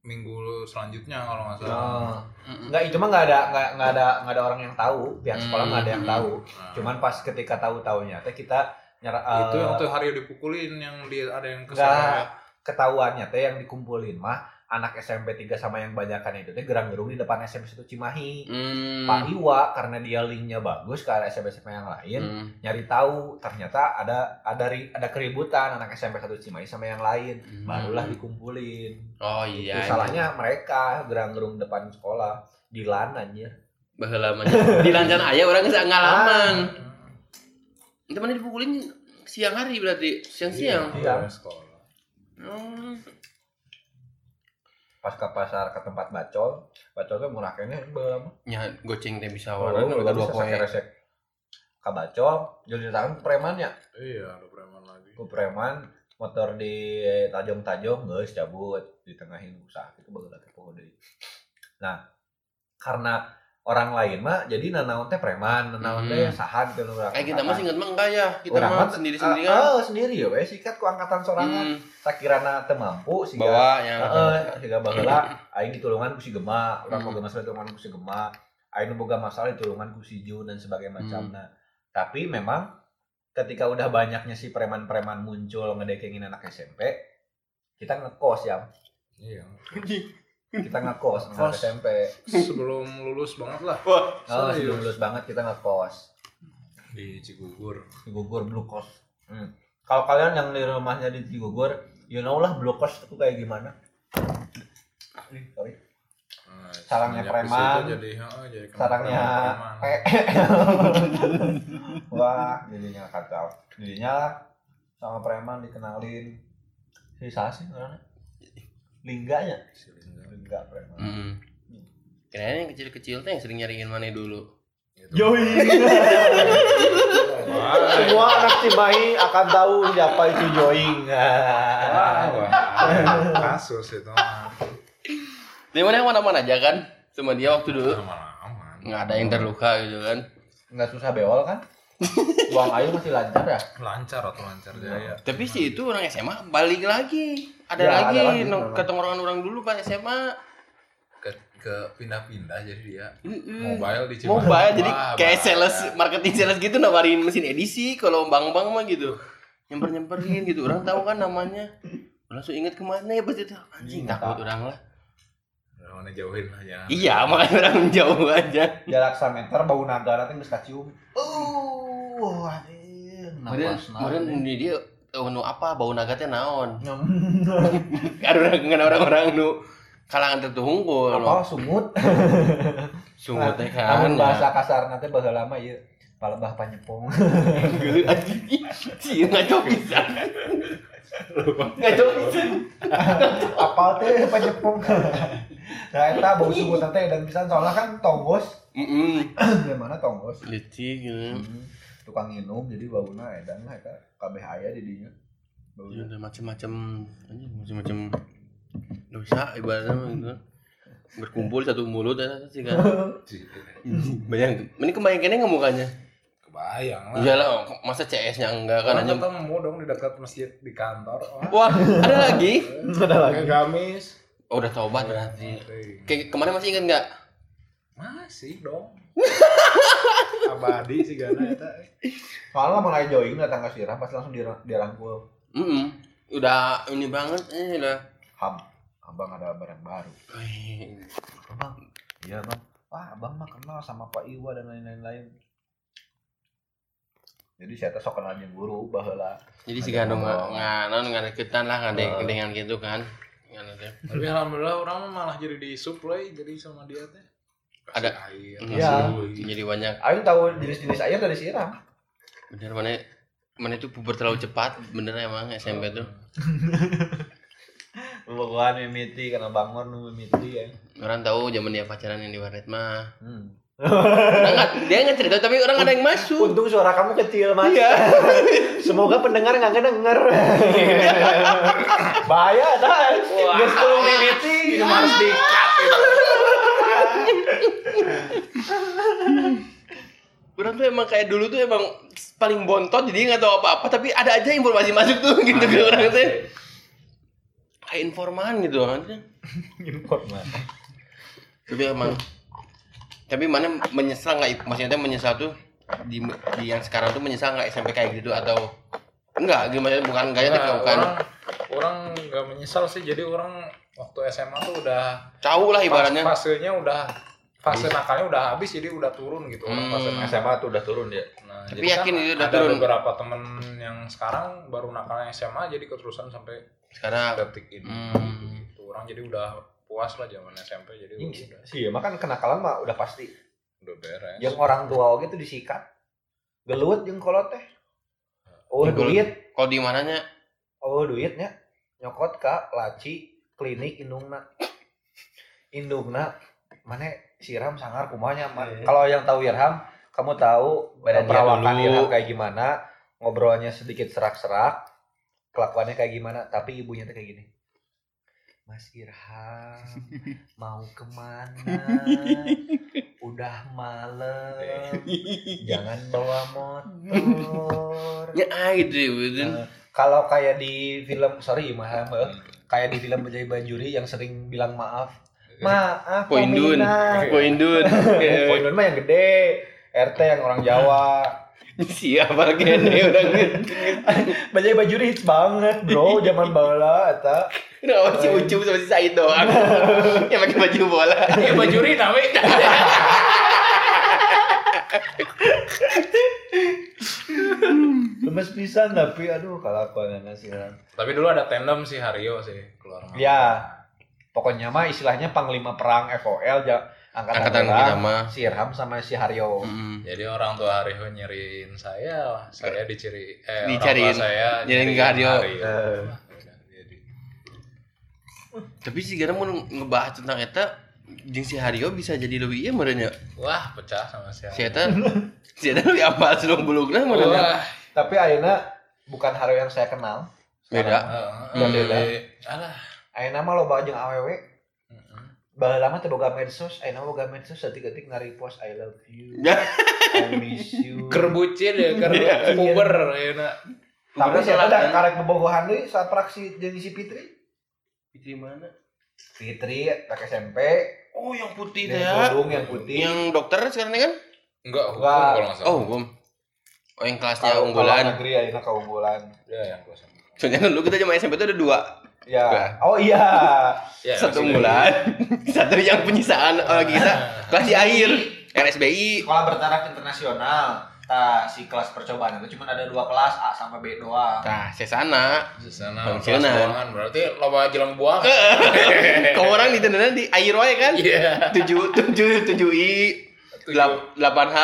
Speaker 4: minggu selanjutnya kalau nggak salah.
Speaker 2: Nah,
Speaker 3: Mm-mm.
Speaker 2: nggak itu mah nggak ada nggak nggak ada nggak ada orang yang tahu pihak sekolah nggak ada yang
Speaker 3: Hmm.
Speaker 2: tahu.
Speaker 4: Nah,
Speaker 2: Cuman pas ketika tahu taunya, teh kita nyara
Speaker 4: itu
Speaker 2: eh,
Speaker 4: yang tuh hari dipukulin yang di, ada yang
Speaker 2: Nggak.
Speaker 4: kesana.
Speaker 2: ketahuannya teh yang dikumpulin mah anak SMP 3 sama yang banyakan itu teh gerang-gerung di depan SMP 1 Cimahi.
Speaker 3: Hmm.
Speaker 2: Pak Iwa karena dia linknya bagus ke arah SMP SMP yang lain
Speaker 3: Hmm.
Speaker 2: nyari tahu ternyata ada ada ri- ada keributan anak SMP 1 Cimahi sama yang lain barulah
Speaker 4: Hmm.
Speaker 2: dikumpulin.
Speaker 3: Oh
Speaker 2: Itu
Speaker 3: iya.
Speaker 2: salahnya mereka gerang-gerung depan sekolah dilan anjir.
Speaker 3: Baheula mah. Di lancan aya orang geus
Speaker 2: Ah.
Speaker 3: ngalaman.
Speaker 4: Hmm.
Speaker 3: Itu mana dipukulin siang hari berarti, siang-siang.
Speaker 2: Iya.
Speaker 4: Iya, sekolah.
Speaker 3: Oh.
Speaker 2: Pas ke pasar ke tempat bacol, bacolnya murah kayaknya berapa?
Speaker 3: Nya goceng teh bisa
Speaker 2: Oh,
Speaker 3: warna
Speaker 2: nggak
Speaker 3: dua
Speaker 2: bisa
Speaker 3: poe.
Speaker 2: sakit resek. Ke bacol, jadi tangan preman ya,
Speaker 4: Iya, ada preman lagi.
Speaker 2: ke preman motor di tajong-tajong geus cabut di tengahin usaha itu bageula teh poho deui. Nah, karena orang lain mah jadi nanaon teh preman, nanaon teh
Speaker 3: Hmm.
Speaker 2: saha gitu urang.
Speaker 3: Eh kita mah singkat mah enggak ya. Kita
Speaker 2: Urang
Speaker 3: mah
Speaker 2: mah-
Speaker 3: sendiri-sendiri
Speaker 2: Ah,
Speaker 3: kan.
Speaker 2: ah, sendiri ya we sikat ku angkatan sorangan.
Speaker 3: Hmm.
Speaker 2: Sakirana teu mampu siga-
Speaker 3: Bawa yang
Speaker 2: Iya. Heeh, siga baheula aing ditulungan ku si Gema, urang
Speaker 3: Hmm.
Speaker 2: boga masalah ditulungan ku si Gema, aing nu boga masalah ditulungan ku si Jun dan sebagainya macamna. Tapi memang ketika udah banyaknya si preman-preman muncul ngedekengin anak SMP, kita ngekos ya,
Speaker 4: Iya.
Speaker 2: kita ngekos anak
Speaker 4: Ngekos.
Speaker 2: SMP.
Speaker 4: Sebelum lulus banget lah
Speaker 2: Oh, iya.
Speaker 4: Serius?
Speaker 2: Eh, sebelum lulus banget kita ngekos,
Speaker 4: di Cigugur.
Speaker 2: di Gugur Blue Coast. Hmm. Kalau kalian yang di rumahnya di Gugur, you know lah Blue Coast itu kayak gimana. Ih, sorry.
Speaker 4: Nah,
Speaker 2: Sarangnya
Speaker 4: semenjak di
Speaker 2: preman.
Speaker 4: situ jadi, heeh, jadi gitu kenal
Speaker 2: sarangnya
Speaker 4: preman-preman. (laughs)
Speaker 2: pe- (laughs) wah jadinya kacau jadinya sama preman dikenalin si Sasa sih orangnya lingganya
Speaker 4: Si Lingga.
Speaker 2: lingga preman
Speaker 3: Hmm. Kirain yang kecil-kecil teh yang sering nyariin mana dulu.
Speaker 4: Gitu. Wah,
Speaker 3: Iya.
Speaker 2: semua anak Cimahi akan tahu siapa itu Joing (laughs)
Speaker 4: wah, wah. Nah, Kasus itu mah.
Speaker 3: Dia mana yang mana-mana aja kan sama dia waktu dulu.
Speaker 4: Lama-lama.
Speaker 3: Nggak ada yang terluka gitu kan.
Speaker 2: nggak susah bewol
Speaker 4: (laughs)
Speaker 2: kan uang ayu masih lancar ya
Speaker 4: lancar atau lancar ya. jaya.
Speaker 3: Tapi si itu orang SMA balik lagi. Ada
Speaker 2: Ya,
Speaker 3: lagi,
Speaker 2: ada lagi,
Speaker 3: no-
Speaker 2: memang.
Speaker 3: ke tongkrongan orang dulu pas SMA.
Speaker 4: ke ke pindah-pindah jadi dia
Speaker 3: Mm-mm.
Speaker 4: mobile di Cimahi.
Speaker 3: Hmm. Mobile jadi
Speaker 4: Wah,
Speaker 3: kayak
Speaker 4: bahaya.
Speaker 3: sales marketing sales gitu nawarin mesin edisi kalau bang-bang mah gitu. Nyemper-nyemperin gitu. Orang tahu kan namanya. Langsung inget kemana ya pasti tuh. Anjing
Speaker 2: Ingat,
Speaker 3: takut orang lah.
Speaker 4: Nah, Mana jauhin lah ya.
Speaker 3: Iya, makanya orang menjauh aja.
Speaker 2: jarak 1 meter bau naga nanti nggak kacium uh anjing Nah.
Speaker 3: Kemudian,
Speaker 2: napas
Speaker 3: kemudian ini dia oh, nu apa bau naga teh naon? (laughs)
Speaker 2: napas.
Speaker 3: Kan orang kan orang-orang nu kalangan tertunggul.
Speaker 2: apa sumut
Speaker 3: Sungguh teh kan.
Speaker 2: namun bahasa kasar nanti bahasa lama ya palebah panyepong
Speaker 3: (laughs) Geuleuh anjing. Sieun ngaco pisan. Ngaco pisan.
Speaker 2: apa teh panyepong (laughs) Nah, eta bau subuh teh dan pisan soalnya kan tonggos, (clears throat)
Speaker 3: Mm-mm.
Speaker 2: gimana tonggos?
Speaker 3: Leci gitu.
Speaker 2: Hmm, Tukang minum jadi bauna edan lah eta kabeh aya di dinya.
Speaker 3: Ya
Speaker 2: Bauna.
Speaker 3: udah macam-macam anjing, macam-macam dosa ibaratnya mah gitu. Berkumpul satu mulut dan sih kan.
Speaker 2: (laughs)
Speaker 3: Bayang, ini kebayangkannya nggak mukanya?
Speaker 4: Kebayang
Speaker 2: Nah.
Speaker 4: lah.
Speaker 3: Iyalah, oh, masa CS-nya enggak kan
Speaker 4: Kan
Speaker 3: hanya
Speaker 4: kita mau dong di dekat masjid di kantor. Wah,
Speaker 3: Wah, ada lagi?
Speaker 1: Ada lagi.
Speaker 4: pakai gamis.
Speaker 3: Oh, udah taubat berarti.
Speaker 4: Penting.
Speaker 3: Kayak kemarin masih ingat nggak?
Speaker 4: Masih
Speaker 3: (laughs)
Speaker 4: dong. Abadi sih ya, gana eta.
Speaker 2: Soalnya mulai join datang ke sirah pas langsung dira- dirangkul.
Speaker 3: Mm Udah ini banget, eh udah.
Speaker 2: Ham, abang ada barang baru.
Speaker 3: Wih,
Speaker 2: Abang, iya bang. Wah, abang mah kenal sama Pak Iwa dan lain-lain lain. Jadi saya teh sok kenal jeung guru baheula.
Speaker 3: Jadi si Gandong nggak nganon nggak deketan lah nggak ada yang dengan gitu kan. Nggak ada.
Speaker 4: Tapi alhamdulillah orang mah malah jadi disuplai jadi sama dia teh. Kasih
Speaker 3: Ada. Hmm.
Speaker 4: air.
Speaker 2: Iya.
Speaker 3: Masih Jadi banyak
Speaker 2: Aing tahu jenis-jenis air dari sirah.
Speaker 3: bener mana mana itu puber terlalu cepat bener emang SMP tuh
Speaker 2: Bobogohan mimiti karena bangun nu mimiti ya.
Speaker 3: orang tahu zaman dia pacaran yang di warnet mah
Speaker 2: Hmm.
Speaker 3: Orang nggak- dia nggak cerita tapi orang ada yang masuk
Speaker 1: Untung suara kamu kecil, Mas.
Speaker 3: iya
Speaker 1: (laughs) Semoga pendengar nggak ngedenger. Bahaya dah. Geus teu mimiti.
Speaker 4: Ini mah harus di-cut itu.
Speaker 3: orang tuh emang kayak dulu tuh emang paling bontot jadi nggak tahu apa apa tapi ada aja informasi masuk tuh gitu ke orang tuh kayak informan gitu kan
Speaker 2: Informan.
Speaker 3: tapi emang tapi mana menyesal nggak maksudnya menyesal tuh di, di yang sekarang tuh menyesal nggak SMP kayak gitu atau enggak gimana bukan enggak ya tapi
Speaker 4: Nah,
Speaker 3: bukan
Speaker 4: orang orang nggak menyesal sih jadi orang waktu SMA tuh udah
Speaker 3: tahu lah ibaratnya Iya.
Speaker 4: fas- fasenya udah fase nakalnya udah habis jadi udah turun gitu orang
Speaker 3: Hmm.
Speaker 4: fase nakal.
Speaker 2: SMA tuh udah turun dia.
Speaker 4: Nah,
Speaker 3: Tapi
Speaker 4: jadi
Speaker 3: yakin
Speaker 4: kan
Speaker 3: itu udah
Speaker 4: ada
Speaker 3: turun.
Speaker 4: beberapa temen yang sekarang baru nakalnya SMA jadi keterusan sampai
Speaker 3: sekarang
Speaker 4: detik ini
Speaker 3: Hmm. Iya
Speaker 4: Gitu. orang jadi udah puas lah zaman SMP jadi udah,
Speaker 2: Sih, makan Iya, kan kenakalan mah udah pasti.
Speaker 4: udah beres
Speaker 3: Ya,
Speaker 2: Yang orang tua oge tuh disikat. Gelut jeung kolot teh. Oh,
Speaker 3: Gelut.
Speaker 2: duit.
Speaker 3: kalau di mananya
Speaker 2: Oh duitnya nyokot ka laci klinik indungna. Indungna mana siram sangar kumanya. Ma-
Speaker 4: Iya.
Speaker 2: Kalau yang tahu Irham, kamu tahu
Speaker 3: Badan dia
Speaker 2: perawakan
Speaker 3: dulu.
Speaker 2: Irham kayak gimana, ngobrolnya sedikit serak-serak, kelakuannya kayak gimana, tapi ibunya tuh kayak gini. Mas
Speaker 3: (laughs)
Speaker 2: Irham mau kemana? Udah malam, jangan bawa motor.
Speaker 3: ya ah, gitu ya gitu.
Speaker 2: Nah, kalau kayak di film sorry maham eh, kayak di film Bajai Banjuri yang sering bilang maaf maaf
Speaker 3: Poindun.
Speaker 2: peminat.
Speaker 3: poin dun (laughs)
Speaker 2: Poindun mah yang gede RT yang orang (laughs) Jawa
Speaker 3: siapa lagi ini orang
Speaker 2: Bajai Banjuri hits banget (laughs) bro zaman bala eta
Speaker 3: kenapa si ucup sama si Said doang (laughs) yang pakai baju bola (laughs)
Speaker 4: ya bajuri nawe
Speaker 2: lemes pisan tapi aduh kelakuan ya. sih
Speaker 4: (laughs) tapi dulu ada tandem sih Hario sih keluar malam.
Speaker 2: Ah. Ya. pokoknya mah istilahnya panglima perang FOL ja, angkatan,
Speaker 3: angkatan
Speaker 2: perang,
Speaker 3: kita mah
Speaker 2: si Irham sama si Haryo
Speaker 3: Mm.
Speaker 4: jadi orang tua Hario nyeriin saya saya diciri eh orang
Speaker 3: Dicariin.
Speaker 4: tua saya
Speaker 3: Nyeriin ke Hario.
Speaker 2: Eh.
Speaker 4: Wah, udah, jadi.
Speaker 3: tapi sih karena mau ngebahas tentang eta jeung si Hario bisa jadi lebih iya merenya
Speaker 4: wah pecah sama si
Speaker 3: si
Speaker 4: Hario
Speaker 3: eta si eta lebih apa selung belukna merenya
Speaker 4: Wah,
Speaker 2: tapi akhirnya bukan Haryo yang saya kenal
Speaker 3: beda
Speaker 4: heeh,
Speaker 3: Hmm.
Speaker 4: beda. alah
Speaker 2: akhirnya mah loba jeung awewe
Speaker 4: Heeh.
Speaker 2: Bah lama teh boga medsos, ayeuna boga medsos detik-detik nge-repost I love you.
Speaker 3: Ya. (laughs)
Speaker 2: I miss you.
Speaker 4: kerbucin
Speaker 3: Iya,
Speaker 4: ya kerbucin puber ya nak
Speaker 2: Tapi
Speaker 3: Kebetulan
Speaker 2: saya
Speaker 3: kan.
Speaker 2: ada karek bobogohan deui sapraksi jeung si Fitri.
Speaker 3: Di mana?
Speaker 2: Fitri tak SMP,
Speaker 3: Oh, yang putih teh.
Speaker 2: yang
Speaker 3: ya.
Speaker 2: Dudung yang putih.
Speaker 3: Yang dokter sekarang ini kan?
Speaker 4: enggak hukum
Speaker 2: Enggak.
Speaker 4: kalau nggak salah
Speaker 3: Oh, belum. Oh, yang kelasnya
Speaker 2: Kalau-
Speaker 3: unggulan.
Speaker 2: kalau negeri ayeuna keunggulan.
Speaker 4: ya yang gua sama
Speaker 3: Soalnya kan dulu kita zaman SMP itu ada dua. Enggak.
Speaker 2: Ya. Oh iya.
Speaker 4: ya,
Speaker 3: Satu
Speaker 4: maksudnya.
Speaker 3: unggulan, (laughs) satu yang penyisaan orang kita. Kelas di air, RSBI.
Speaker 2: Sekolah bertaraf internasional. Tah si kelas percobaan itu cuma ada dua kelas A sama B doang.
Speaker 3: Nah, saya sana.
Speaker 4: Sesana kelas
Speaker 3: Fungsional.
Speaker 4: buangan berarti loba jelang buang.
Speaker 3: Kau orang di tendana di air wae kan?
Speaker 4: Iya.
Speaker 3: Tujuh, tujuh, tujuh I, delap- delapan H,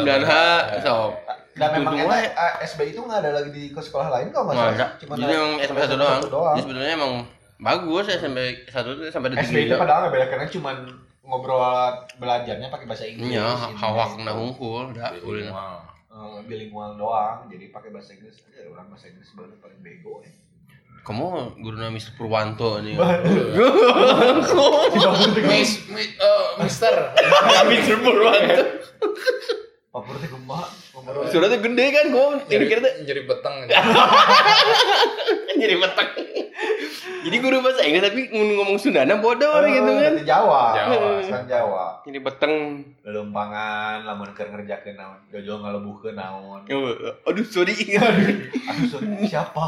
Speaker 3: sembilan H, so.
Speaker 2: Dan memang
Speaker 3: Dudung
Speaker 2: enak eh, SB itu nggak ada lagi di sekolah lain kalau nggak
Speaker 3: Nggak ada.
Speaker 2: salah. Cuma
Speaker 3: Jadi yang SMP satu doang. Jadi sebenarnya emang Bagus ya sampai satu tuh sampai detik
Speaker 2: SD itu
Speaker 3: ini.
Speaker 2: padahal nggak beda karena cuman ngobrol belajarnya pakai bahasa Inggris.
Speaker 3: Iya,
Speaker 2: Indonesia.
Speaker 3: hawak na hungkul da ulin.
Speaker 4: Wow.
Speaker 2: Eh, bilingual doang, jadi pakai bahasa Inggris. Eh, orang bahasa Inggris baru paling bego. Ya.
Speaker 3: Kamu guru nama Mr. Purwanto nih. (laughs)
Speaker 6: Miss, mi- eh, Mister.
Speaker 3: Mr. Purwanto.
Speaker 2: Papurnya gemak, ngobrol.
Speaker 3: Suratnya gede kan gua
Speaker 4: Jadi,
Speaker 3: pikir tuh
Speaker 4: jadi
Speaker 3: (laughs)
Speaker 4: beteng.
Speaker 3: jadi petak. "Kan (laughs) Jadi guru bahasa Inggris tapi ng- ngomong Sundana bodoh
Speaker 2: Eh,
Speaker 3: gitu kan.
Speaker 2: dari Jawa,
Speaker 4: Jawa.
Speaker 2: Sang Jawa.
Speaker 3: Jadi beteng.
Speaker 2: Lelumpangan, lamun keur ngerjakeun naon, jojol ngalebuhkeun naon.
Speaker 3: Aduh, sorry. (laughs)
Speaker 2: Asuh, sorry, siapa?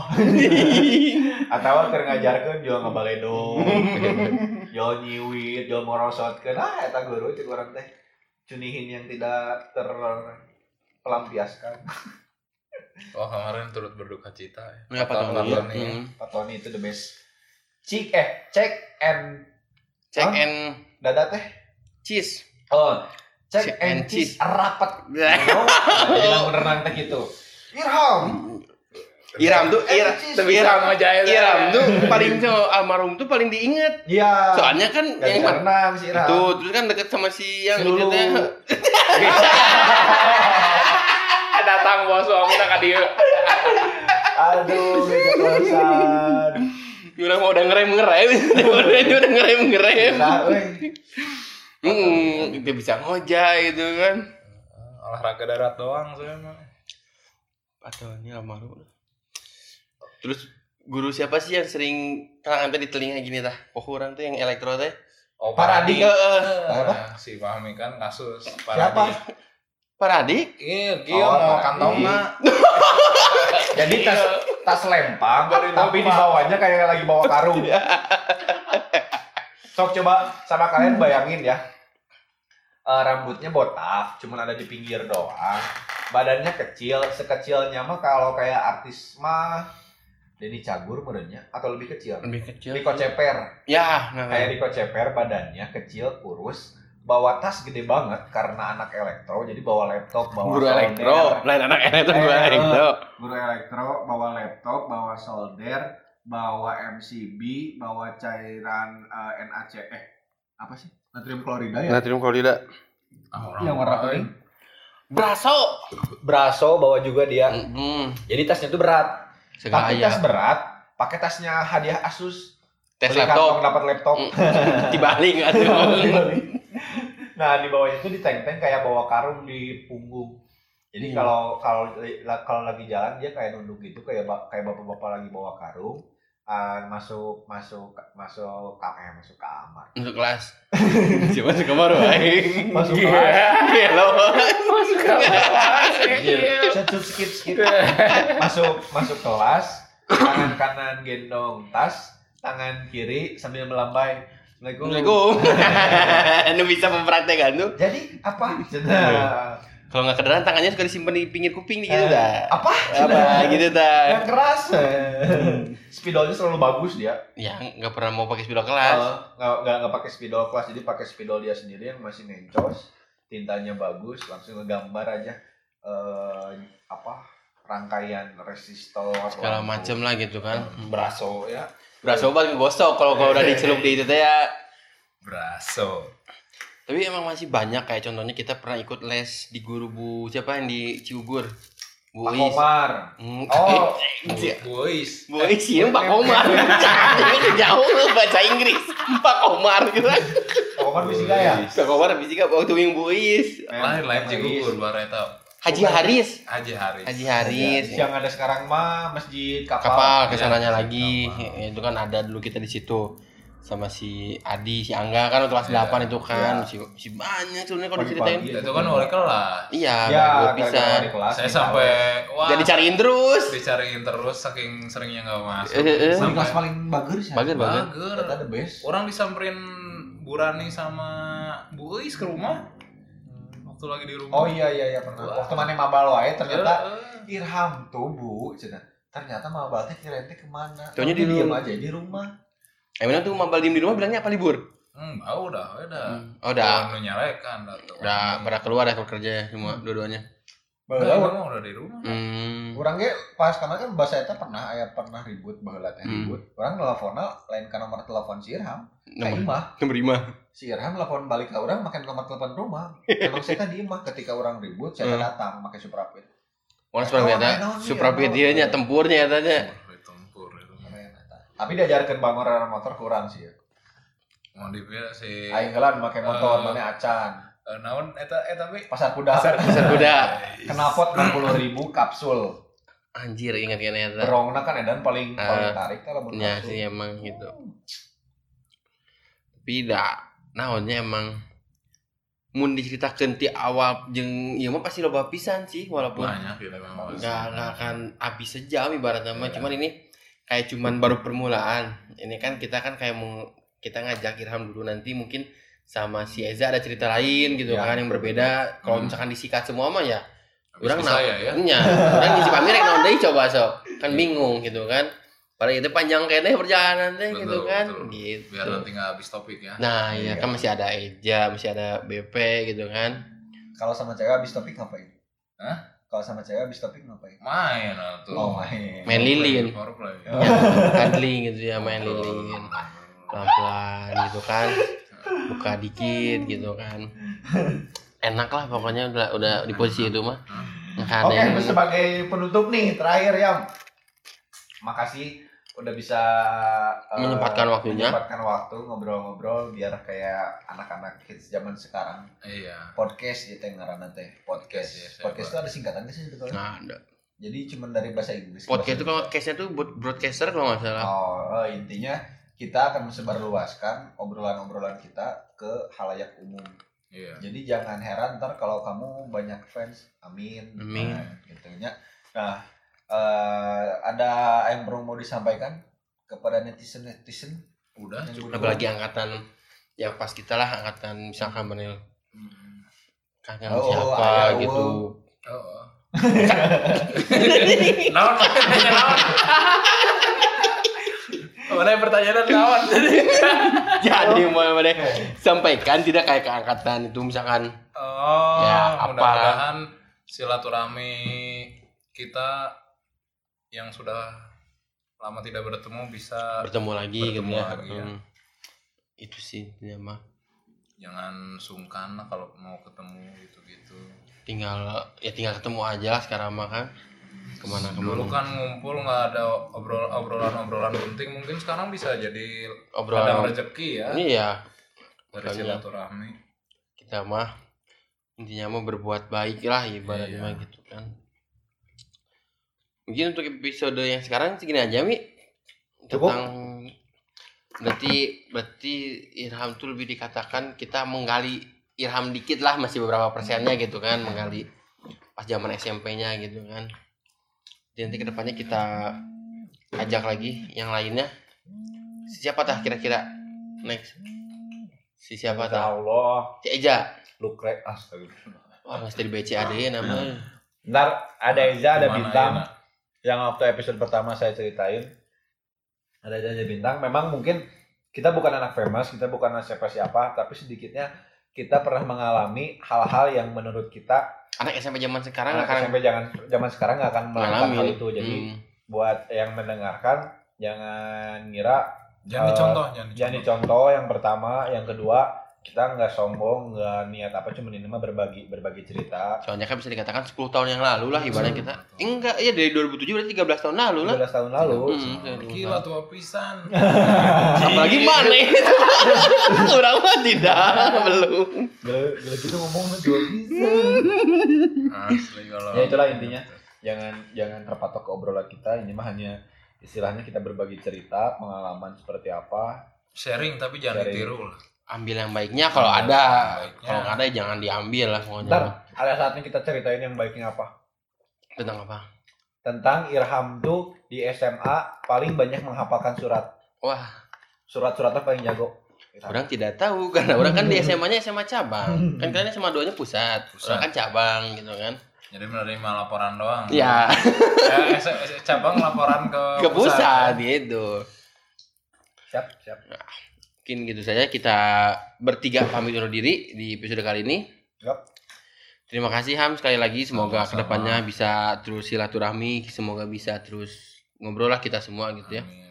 Speaker 2: Atawa keur ngajarkeun jojol ngabaledong.
Speaker 3: (laughs)
Speaker 2: jojol nyiwit, jojol morosotkeun. Ah, eta guru cek urang teh. Cunihin yang tidak terpelampiaskan.
Speaker 4: Oh kemarin turut berduka cita. ya.
Speaker 3: Ini apa
Speaker 4: Atau
Speaker 3: tuh?
Speaker 4: nonton nih,
Speaker 3: Hmm.
Speaker 2: Pak Tony itu the best. Cik eh cek and
Speaker 3: Check
Speaker 2: Hah?
Speaker 3: and
Speaker 2: dada teh.
Speaker 3: cheese.
Speaker 2: Oh,
Speaker 3: Check
Speaker 2: cek and
Speaker 3: and
Speaker 2: cheese rapat.
Speaker 3: (laughs)
Speaker 2: Oh, bener beneran teh gitu. Irham.
Speaker 3: Iram tuh
Speaker 2: Eh,
Speaker 3: Iram,
Speaker 2: cheese.
Speaker 3: tapi Iram aja ya, Iram tuh (laughs) paling so, almarhum tuh paling diinget.
Speaker 2: Iya.
Speaker 3: Soalnya kan
Speaker 2: Gak
Speaker 3: yang
Speaker 2: bisa renang si Irham.
Speaker 3: itu terus kan deket sama si yang
Speaker 2: Lulu.
Speaker 3: itu teh. (laughs)
Speaker 6: Datang bos suami tak kadieu.
Speaker 2: Aduh, beda kosan.
Speaker 3: Udah mau udah ngerem (laughs) ngerem, udah udah ngerem ngerem.
Speaker 2: Nah, weh.
Speaker 3: Hmm, dia bisa ngojek gitu kan.
Speaker 4: Olahraga darat doang saya mah.
Speaker 3: Atau ini almarhum. Terus guru siapa sih yang sering tangan tadi telinga gini tah? Oh orang tuh yang elektro teh.
Speaker 4: Oh
Speaker 2: Paradi.
Speaker 4: Paradi.
Speaker 3: Heeh.
Speaker 2: Apa?
Speaker 4: Nah, si Fahmi kan kasus.
Speaker 2: Siapa?
Speaker 3: Paradi?
Speaker 4: Iya, Gio
Speaker 2: Oh,
Speaker 4: mau
Speaker 2: Paradi.
Speaker 4: kantongna.
Speaker 2: Jadi tas tas lempang,
Speaker 4: Baru
Speaker 2: tapi di
Speaker 4: lempang.
Speaker 2: bawahnya kayak lagi bawa karung. Sok coba sama kalian bayangin ya. Eh, rambutnya botak, cuman ada di pinggir doang. Badannya kecil, sekecilnya mah kalau kayak artis mah Denny Cagur merenya atau lebih kecil.
Speaker 3: Lebih kecil.
Speaker 2: Rico Ceper.
Speaker 3: Ya, nah.
Speaker 2: kayak Rico Ceper badannya kecil kurus bawa tas gede banget karena anak elektro jadi bawa laptop bawa
Speaker 3: guru
Speaker 2: solder.
Speaker 3: elektro lain anak elektro guru
Speaker 2: Eh,
Speaker 3: elektro
Speaker 2: guru elektro bawa laptop bawa solder bawa MCB bawa cairan eh, NaC eh apa sih natrium klorida ya
Speaker 3: natrium klorida
Speaker 4: Iya.
Speaker 2: yang warna kuning
Speaker 3: braso
Speaker 2: braso bawa juga dia
Speaker 3: hmm
Speaker 2: jadi tasnya tuh berat
Speaker 3: segala ya.
Speaker 2: pakai tas berat pakai tasnya hadiah Asus
Speaker 3: tes
Speaker 2: Beli kantong
Speaker 3: laptop Mm.
Speaker 2: dapat laptop (laughs)
Speaker 3: dibalik atuh
Speaker 2: nah di bawahnya itu ditenteng kayak bawa karung di punggung jadi
Speaker 3: Hmm.
Speaker 2: kalau kalau la- kalau lagi jalan dia kayak nunduk gitu kayak ba- kayak bapak-bapak lagi bawa karung ah, masuk masuk masuk kamar masuk kamar
Speaker 3: masuk kelas cuma masuk
Speaker 2: (laughs)
Speaker 3: kamar Iya, aing
Speaker 2: Masuk
Speaker 3: Gelo.
Speaker 6: Masuk
Speaker 3: Iya.
Speaker 6: kamar.
Speaker 2: Set, set, skip skip masuk masuk kelas tangan kanan gendong tas tangan kiri sambil melambai
Speaker 3: Assalamualaikum (laughs) nu bisa mempraktekan tuh
Speaker 2: jadi apa
Speaker 3: kalau nggak kedengeran tangannya suka disimpan di pinggir kuping nih, gitu
Speaker 2: Eh,
Speaker 3: dah
Speaker 2: apa
Speaker 3: apa gitu dah
Speaker 2: (laughs) yang keras Hmm. spidolnya selalu bagus dia
Speaker 3: ya nggak pernah mau pakai spidol kelas
Speaker 2: Eh, nggak nggak nggak pakai spidol kelas jadi pakai spidol dia sendiri yang masih ngencos tintanya bagus langsung ngegambar aja eh apa rangkaian resistor
Speaker 3: segala
Speaker 2: lampu,
Speaker 3: macem lah gitu kan
Speaker 2: braso ya
Speaker 3: braso banget gosok kalau kalau udah dicelup di itu teh ya
Speaker 4: Braso.
Speaker 3: Tapi emang masih banyak kayak contohnya kita pernah ikut les di guru Bu siapa yang di Ciugur? Bu
Speaker 2: Pak
Speaker 3: Is.
Speaker 2: Komar
Speaker 3: Hmm. (laughs) Iya.
Speaker 2: oh
Speaker 4: Boys.
Speaker 3: Bu Is iya Pak Komar. Itu jauh lu baca Inggris. Pak Komar gitu.
Speaker 2: (laughs)
Speaker 3: kan.
Speaker 2: Pak Komar bisa ya? gaya
Speaker 3: Pak Komar fisika waktu yang Bu Is.
Speaker 4: Lain-lain cikukur bareta.
Speaker 3: Haji Haris.
Speaker 4: Haji Haris.
Speaker 3: Haji
Speaker 2: Haris
Speaker 3: Haris.
Speaker 2: Iya. yang ada sekarang mah masjid kapal,
Speaker 3: Kapal kesananya
Speaker 4: Iya,
Speaker 3: lagi.
Speaker 4: kapal.
Speaker 3: Itu kan ada dulu kita di situ sama si Adi, si Angga kan waktu kelas
Speaker 4: Iya,
Speaker 3: 8 itu kan si, si banyak sebenarnya kalau diceritain.
Speaker 2: Pagi-pagi.
Speaker 4: Itu kan wali kelas.
Speaker 3: Iya,
Speaker 2: Iya, ya
Speaker 3: ya,
Speaker 2: gara-gara
Speaker 3: bisa.
Speaker 2: dari kelas
Speaker 4: Saya
Speaker 2: nih,
Speaker 4: sampai wah.
Speaker 3: Jadi cariin terus.
Speaker 4: dicariin terus saking seringnya nggak masuk.
Speaker 3: Eh, eh, eh.
Speaker 2: tahu. Di kelas
Speaker 4: Sampai
Speaker 2: paling bagus ya
Speaker 3: Bagus banget.
Speaker 4: Bager.
Speaker 2: Eta the best
Speaker 4: Orang disamperin Bu Rani sama Bu Is ke rumah. Waktu lagi di rumah. Eh,
Speaker 2: oh iya iya iya pernah waktu mana mabal wae ternyata Irham tuh bu, cina. ternyata mabal teh kirain teh kemana?
Speaker 3: Taunya
Speaker 2: Tapi
Speaker 3: di
Speaker 2: diam
Speaker 3: rumah.
Speaker 2: aja di rumah.
Speaker 3: Emang tuh mabal diem di rumah bilangnya apa libur?
Speaker 4: Hmm, bau dah, udah.
Speaker 3: Oh, udah.
Speaker 4: Iya. Menyalakan dah tuh.
Speaker 3: Udah pada keluar ya kerja semua ya, dua-duanya.
Speaker 4: Enggak,
Speaker 2: Baheula
Speaker 4: mah Nah, udah di rumah.
Speaker 3: Hmm.
Speaker 2: Orang ge pas karena kan bahasa eta pernah aya pernah ribut baheula teh ribut. Orang nelponna lain ka nomor telepon si Irham, ka
Speaker 3: Nomor-
Speaker 2: imah.
Speaker 3: Nomor lima.
Speaker 2: Si Irham telepon balik ke orang makan nomor telepon rumah. Emang saya tadi imah ketika orang ribut saya teh datang pakai Suprapit.
Speaker 3: Orang sebenarnya ada
Speaker 2: Oh, naon, iya,
Speaker 3: Suprapit
Speaker 2: naon.
Speaker 3: dia nya ya, tempurnya ya, tanya.
Speaker 4: Tempur, Tempur itu.
Speaker 2: Keren eta. Tapi diajarkeun bangor motor kurang sih. ya.
Speaker 4: Mau dipilih si
Speaker 2: Aing heula nu make motor
Speaker 4: Eh.
Speaker 2: mana acan.
Speaker 4: Eh, naon eta eta tapi Iya,
Speaker 2: Pasar kuda.
Speaker 3: Besar kuda.
Speaker 2: Kenapot 60.000 kapsul.
Speaker 3: Anjir ingat kan ya. Ta.
Speaker 2: Berongna kan edan paling paling
Speaker 3: Eh.
Speaker 2: tarik teh lamun
Speaker 3: Ya
Speaker 2: kapsul.
Speaker 3: sih emang gitu. Tapi dah naonnya emang mun diceritakeun ti awal jeung ieu mah pasti loba pisan sih walaupun
Speaker 4: banyak gitu memang.
Speaker 3: nggak nggak akan habis sejam ibaratnya mah cuman ini kayak cuman baru permulaan ini kan kita kan kayak mau kita ngajak Irham dulu nanti mungkin sama si Eza ada cerita lain gitu
Speaker 2: Ya.
Speaker 3: kan yang berbeda kalau
Speaker 4: Hmm.
Speaker 3: misalkan disikat semua mah ya Orang
Speaker 4: Habis saya ya.
Speaker 3: nya orang Iya. Kan ngisi pamirek naon deui coba sok kan
Speaker 2: Iya.
Speaker 3: bingung gitu kan padahal itu panjang kayaknya perjalanan teh
Speaker 4: Betul,
Speaker 3: gitu kan
Speaker 4: betul.
Speaker 3: gitu
Speaker 4: Biar nanti nggak habis topik ya.
Speaker 3: nah iya
Speaker 2: Iya.
Speaker 3: kan masih ada Eja masih ada BP gitu kan
Speaker 2: Kalau sama cewek habis topik ngapain?
Speaker 4: Hah?
Speaker 2: Kalau sama cewek habis topik ngapain?
Speaker 4: Main atuh.
Speaker 2: Oh, main.
Speaker 3: Main lilin.
Speaker 4: Foreplay.
Speaker 2: Oh.
Speaker 3: cuddling gitu ya main lilin pelan-pelan gitu kan buka dikit gitu kan enak lah pokoknya udah udah di posisi itu mah nggak ada
Speaker 2: Oke,
Speaker 3: yang
Speaker 2: sebagai penutup nih, terakhir yang makasih udah bisa eh,
Speaker 3: Menyempatkan waktunya.
Speaker 2: menyempatkan waktu ngobrol-ngobrol biar kayak anak-anak kids zaman sekarang
Speaker 4: Iya.
Speaker 2: podcast gitu yang ngaranna teh podcast.
Speaker 4: Yes, yes,
Speaker 2: podcast
Speaker 4: yes.
Speaker 2: itu ada singkatan sih sebetulnya?
Speaker 3: Nggak Nah, ada
Speaker 2: Jadi cuma dari bahasa Inggris. ke bahasa
Speaker 3: podcast itu kalau case nya tuh buat broadcaster kalau nggak salah
Speaker 2: Oh, eh, intinya kita akan mensebarluaskan obrolan-obrolan kita ke halayak umum.
Speaker 4: Iya.
Speaker 2: Jadi jangan heran ntar kalau kamu banyak fans. Amin.
Speaker 3: Amin.
Speaker 2: Nah, gitu nya. Nah, eh, ada yang perlu mau disampaikan kepada netizen-netizen?
Speaker 4: Udah
Speaker 2: Yang
Speaker 4: cukup.
Speaker 3: apalagi angkatan yang pas kita lah angkatan misalkan menil kangen
Speaker 2: Oh,
Speaker 3: siapa
Speaker 2: ayah,
Speaker 3: gitu
Speaker 2: (laughs)
Speaker 4: Oh. Naon pertanyaannya
Speaker 2: (laughs)
Speaker 4: naon? Mana yang pertanyaan naon?
Speaker 3: (laughs) jadi mau deh sampaikan tidak kayak ke angkatan itu misalkan
Speaker 4: Oh,
Speaker 3: Ya, apa?
Speaker 4: mudah-mudahan silaturahmi kita yang sudah lama tidak bertemu bisa
Speaker 3: bertemu lagi
Speaker 4: Bertemu
Speaker 3: gitu ya,
Speaker 4: lagi, ya.
Speaker 3: Hmm. itu sih ya mah
Speaker 4: jangan sungkan lah kalau mau ketemu gitu-gitu.
Speaker 3: tinggal ya tinggal ketemu aja lah sekarang mah kan kemana
Speaker 4: Dulu
Speaker 3: kemana
Speaker 4: kan ngumpul nggak ada obrol obrolan-obrolan penting, mungkin sekarang bisa jadi
Speaker 3: obrolan
Speaker 4: ada rezeki ya
Speaker 3: iya
Speaker 4: dari
Speaker 3: makanya.
Speaker 4: silaturahmi.
Speaker 3: kita mah intinya mah berbuat baik lah ibaratnya
Speaker 4: Iya.
Speaker 3: mah gitu kan mungkin untuk episode yang sekarang segini aja mi
Speaker 2: Cukup.
Speaker 3: tentang berarti berarti Irham tuh lebih dikatakan kita menggali Irham dikit lah masih beberapa persennya gitu kan menggali pas zaman SMP-nya gitu kan Jadi nanti kedepannya kita ajak lagi yang lainnya siapa tah kira-kira next si siapa tah
Speaker 2: Allah,
Speaker 3: si Eja
Speaker 2: Lukre, astagfirullah.
Speaker 3: Wah, mesti di BCAD ya
Speaker 2: Hmm.
Speaker 3: namanya.
Speaker 2: Ntar ada Eza, ada
Speaker 4: Kemana
Speaker 2: Bintang.
Speaker 4: ya, Nak?
Speaker 2: Yang waktu episode pertama saya ceritain. Ada Eza, ada Bintang. Memang mungkin kita bukan anak famous, kita bukan anak siapa-siapa. Tapi sedikitnya kita pernah mengalami hal-hal yang menurut kita
Speaker 3: Anak SMP zaman sekarang
Speaker 2: anak
Speaker 3: Kan akan
Speaker 2: SMP jangan zaman sekarang nggak akan melakukan
Speaker 3: ngalamin
Speaker 2: hal itu. Jadi
Speaker 3: Hmm.
Speaker 2: buat yang mendengarkan jangan ngira
Speaker 4: Jangan
Speaker 2: Eh,
Speaker 4: dicontoh, jangan
Speaker 2: jadi
Speaker 4: dicontoh.
Speaker 2: contoh yang pertama yang kedua kita nggak sombong nggak niat apa cuma ini mah berbagi berbagi cerita
Speaker 3: soalnya kan bisa dikatakan 10 tahun yang lalu lah
Speaker 2: Hmm.
Speaker 3: ibaratnya kita.
Speaker 4: Betul.
Speaker 3: Eh, enggak, ya dari 2007 berarti 13 tahun lalu lah.
Speaker 2: 13 tahun lalu
Speaker 3: Hmm, saya dulu
Speaker 4: Gila
Speaker 3: tahu.
Speaker 4: tua
Speaker 2: (laughs)
Speaker 4: pisan.
Speaker 3: Apalagi
Speaker 2: Iya.
Speaker 3: mana (laughs) itu. Orang mah tidak belum.
Speaker 2: gila gila gitu ngomong mah juga bisa
Speaker 4: Asli kalau.
Speaker 2: Ya, itulah intinya. jangan jangan terpatok ke obrolan kita ini mah hanya istilahnya kita berbagi cerita pengalaman seperti apa
Speaker 4: Sharing tapi jangan
Speaker 2: Sharing.
Speaker 4: ditiru lah.
Speaker 3: Ambil yang baiknya kalau
Speaker 2: Iya.
Speaker 3: ada.
Speaker 4: Baiknya.
Speaker 3: Kalau nggak ada ya jangan diambil lah pokoknya.
Speaker 2: ntar ada saatnya kita ceritain yang baiknya apa
Speaker 3: Tentang apa?
Speaker 2: tentang Irham tuh di SMA paling banyak menghafalkan surat
Speaker 3: Wah,
Speaker 2: surat-suratnya paling jago
Speaker 3: orang tidak tahu karena orang
Speaker 2: (laughs)
Speaker 3: kan di SMA-nya SMA cabang. Kan kalian SMA 2-nya pusat.
Speaker 4: Pusat.
Speaker 3: Orang kan cabang gitu kan.
Speaker 4: Jadi menerima laporan doang.
Speaker 2: Iya.
Speaker 3: Ya,
Speaker 4: Ya, S- S- cabang laporan ke,
Speaker 3: ke pusat gitu.
Speaker 2: siap siap
Speaker 3: Mungkin gitu saja kita bertiga pamit undur diri di episode kali ini.
Speaker 2: Yap.
Speaker 3: Terima kasih Ham sekali lagi semoga
Speaker 4: Sama-sama.
Speaker 3: kedepannya bisa terus silaturahmi, semoga bisa terus ngobrol lah kita semua gitu ya.
Speaker 4: Amin.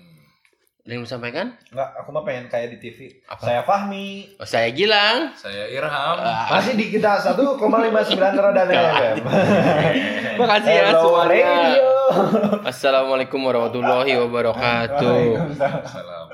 Speaker 3: Ada yang mau sampaikan?
Speaker 2: Enggak, aku mah pengen kayak di TV.
Speaker 3: Apa?
Speaker 2: Saya Fahmi.
Speaker 3: Oh, saya Gilang.
Speaker 4: Saya Irham.
Speaker 3: (laughs) Ah,
Speaker 2: Masih di kita 1,59 Radana FM.
Speaker 3: makasih ya
Speaker 2: Hello,
Speaker 3: semuanya.
Speaker 2: radio.
Speaker 3: Assalamualaikum warahmatullahi wabarakatuh.
Speaker 2: Waalaikumsalam.
Speaker 4: Salam.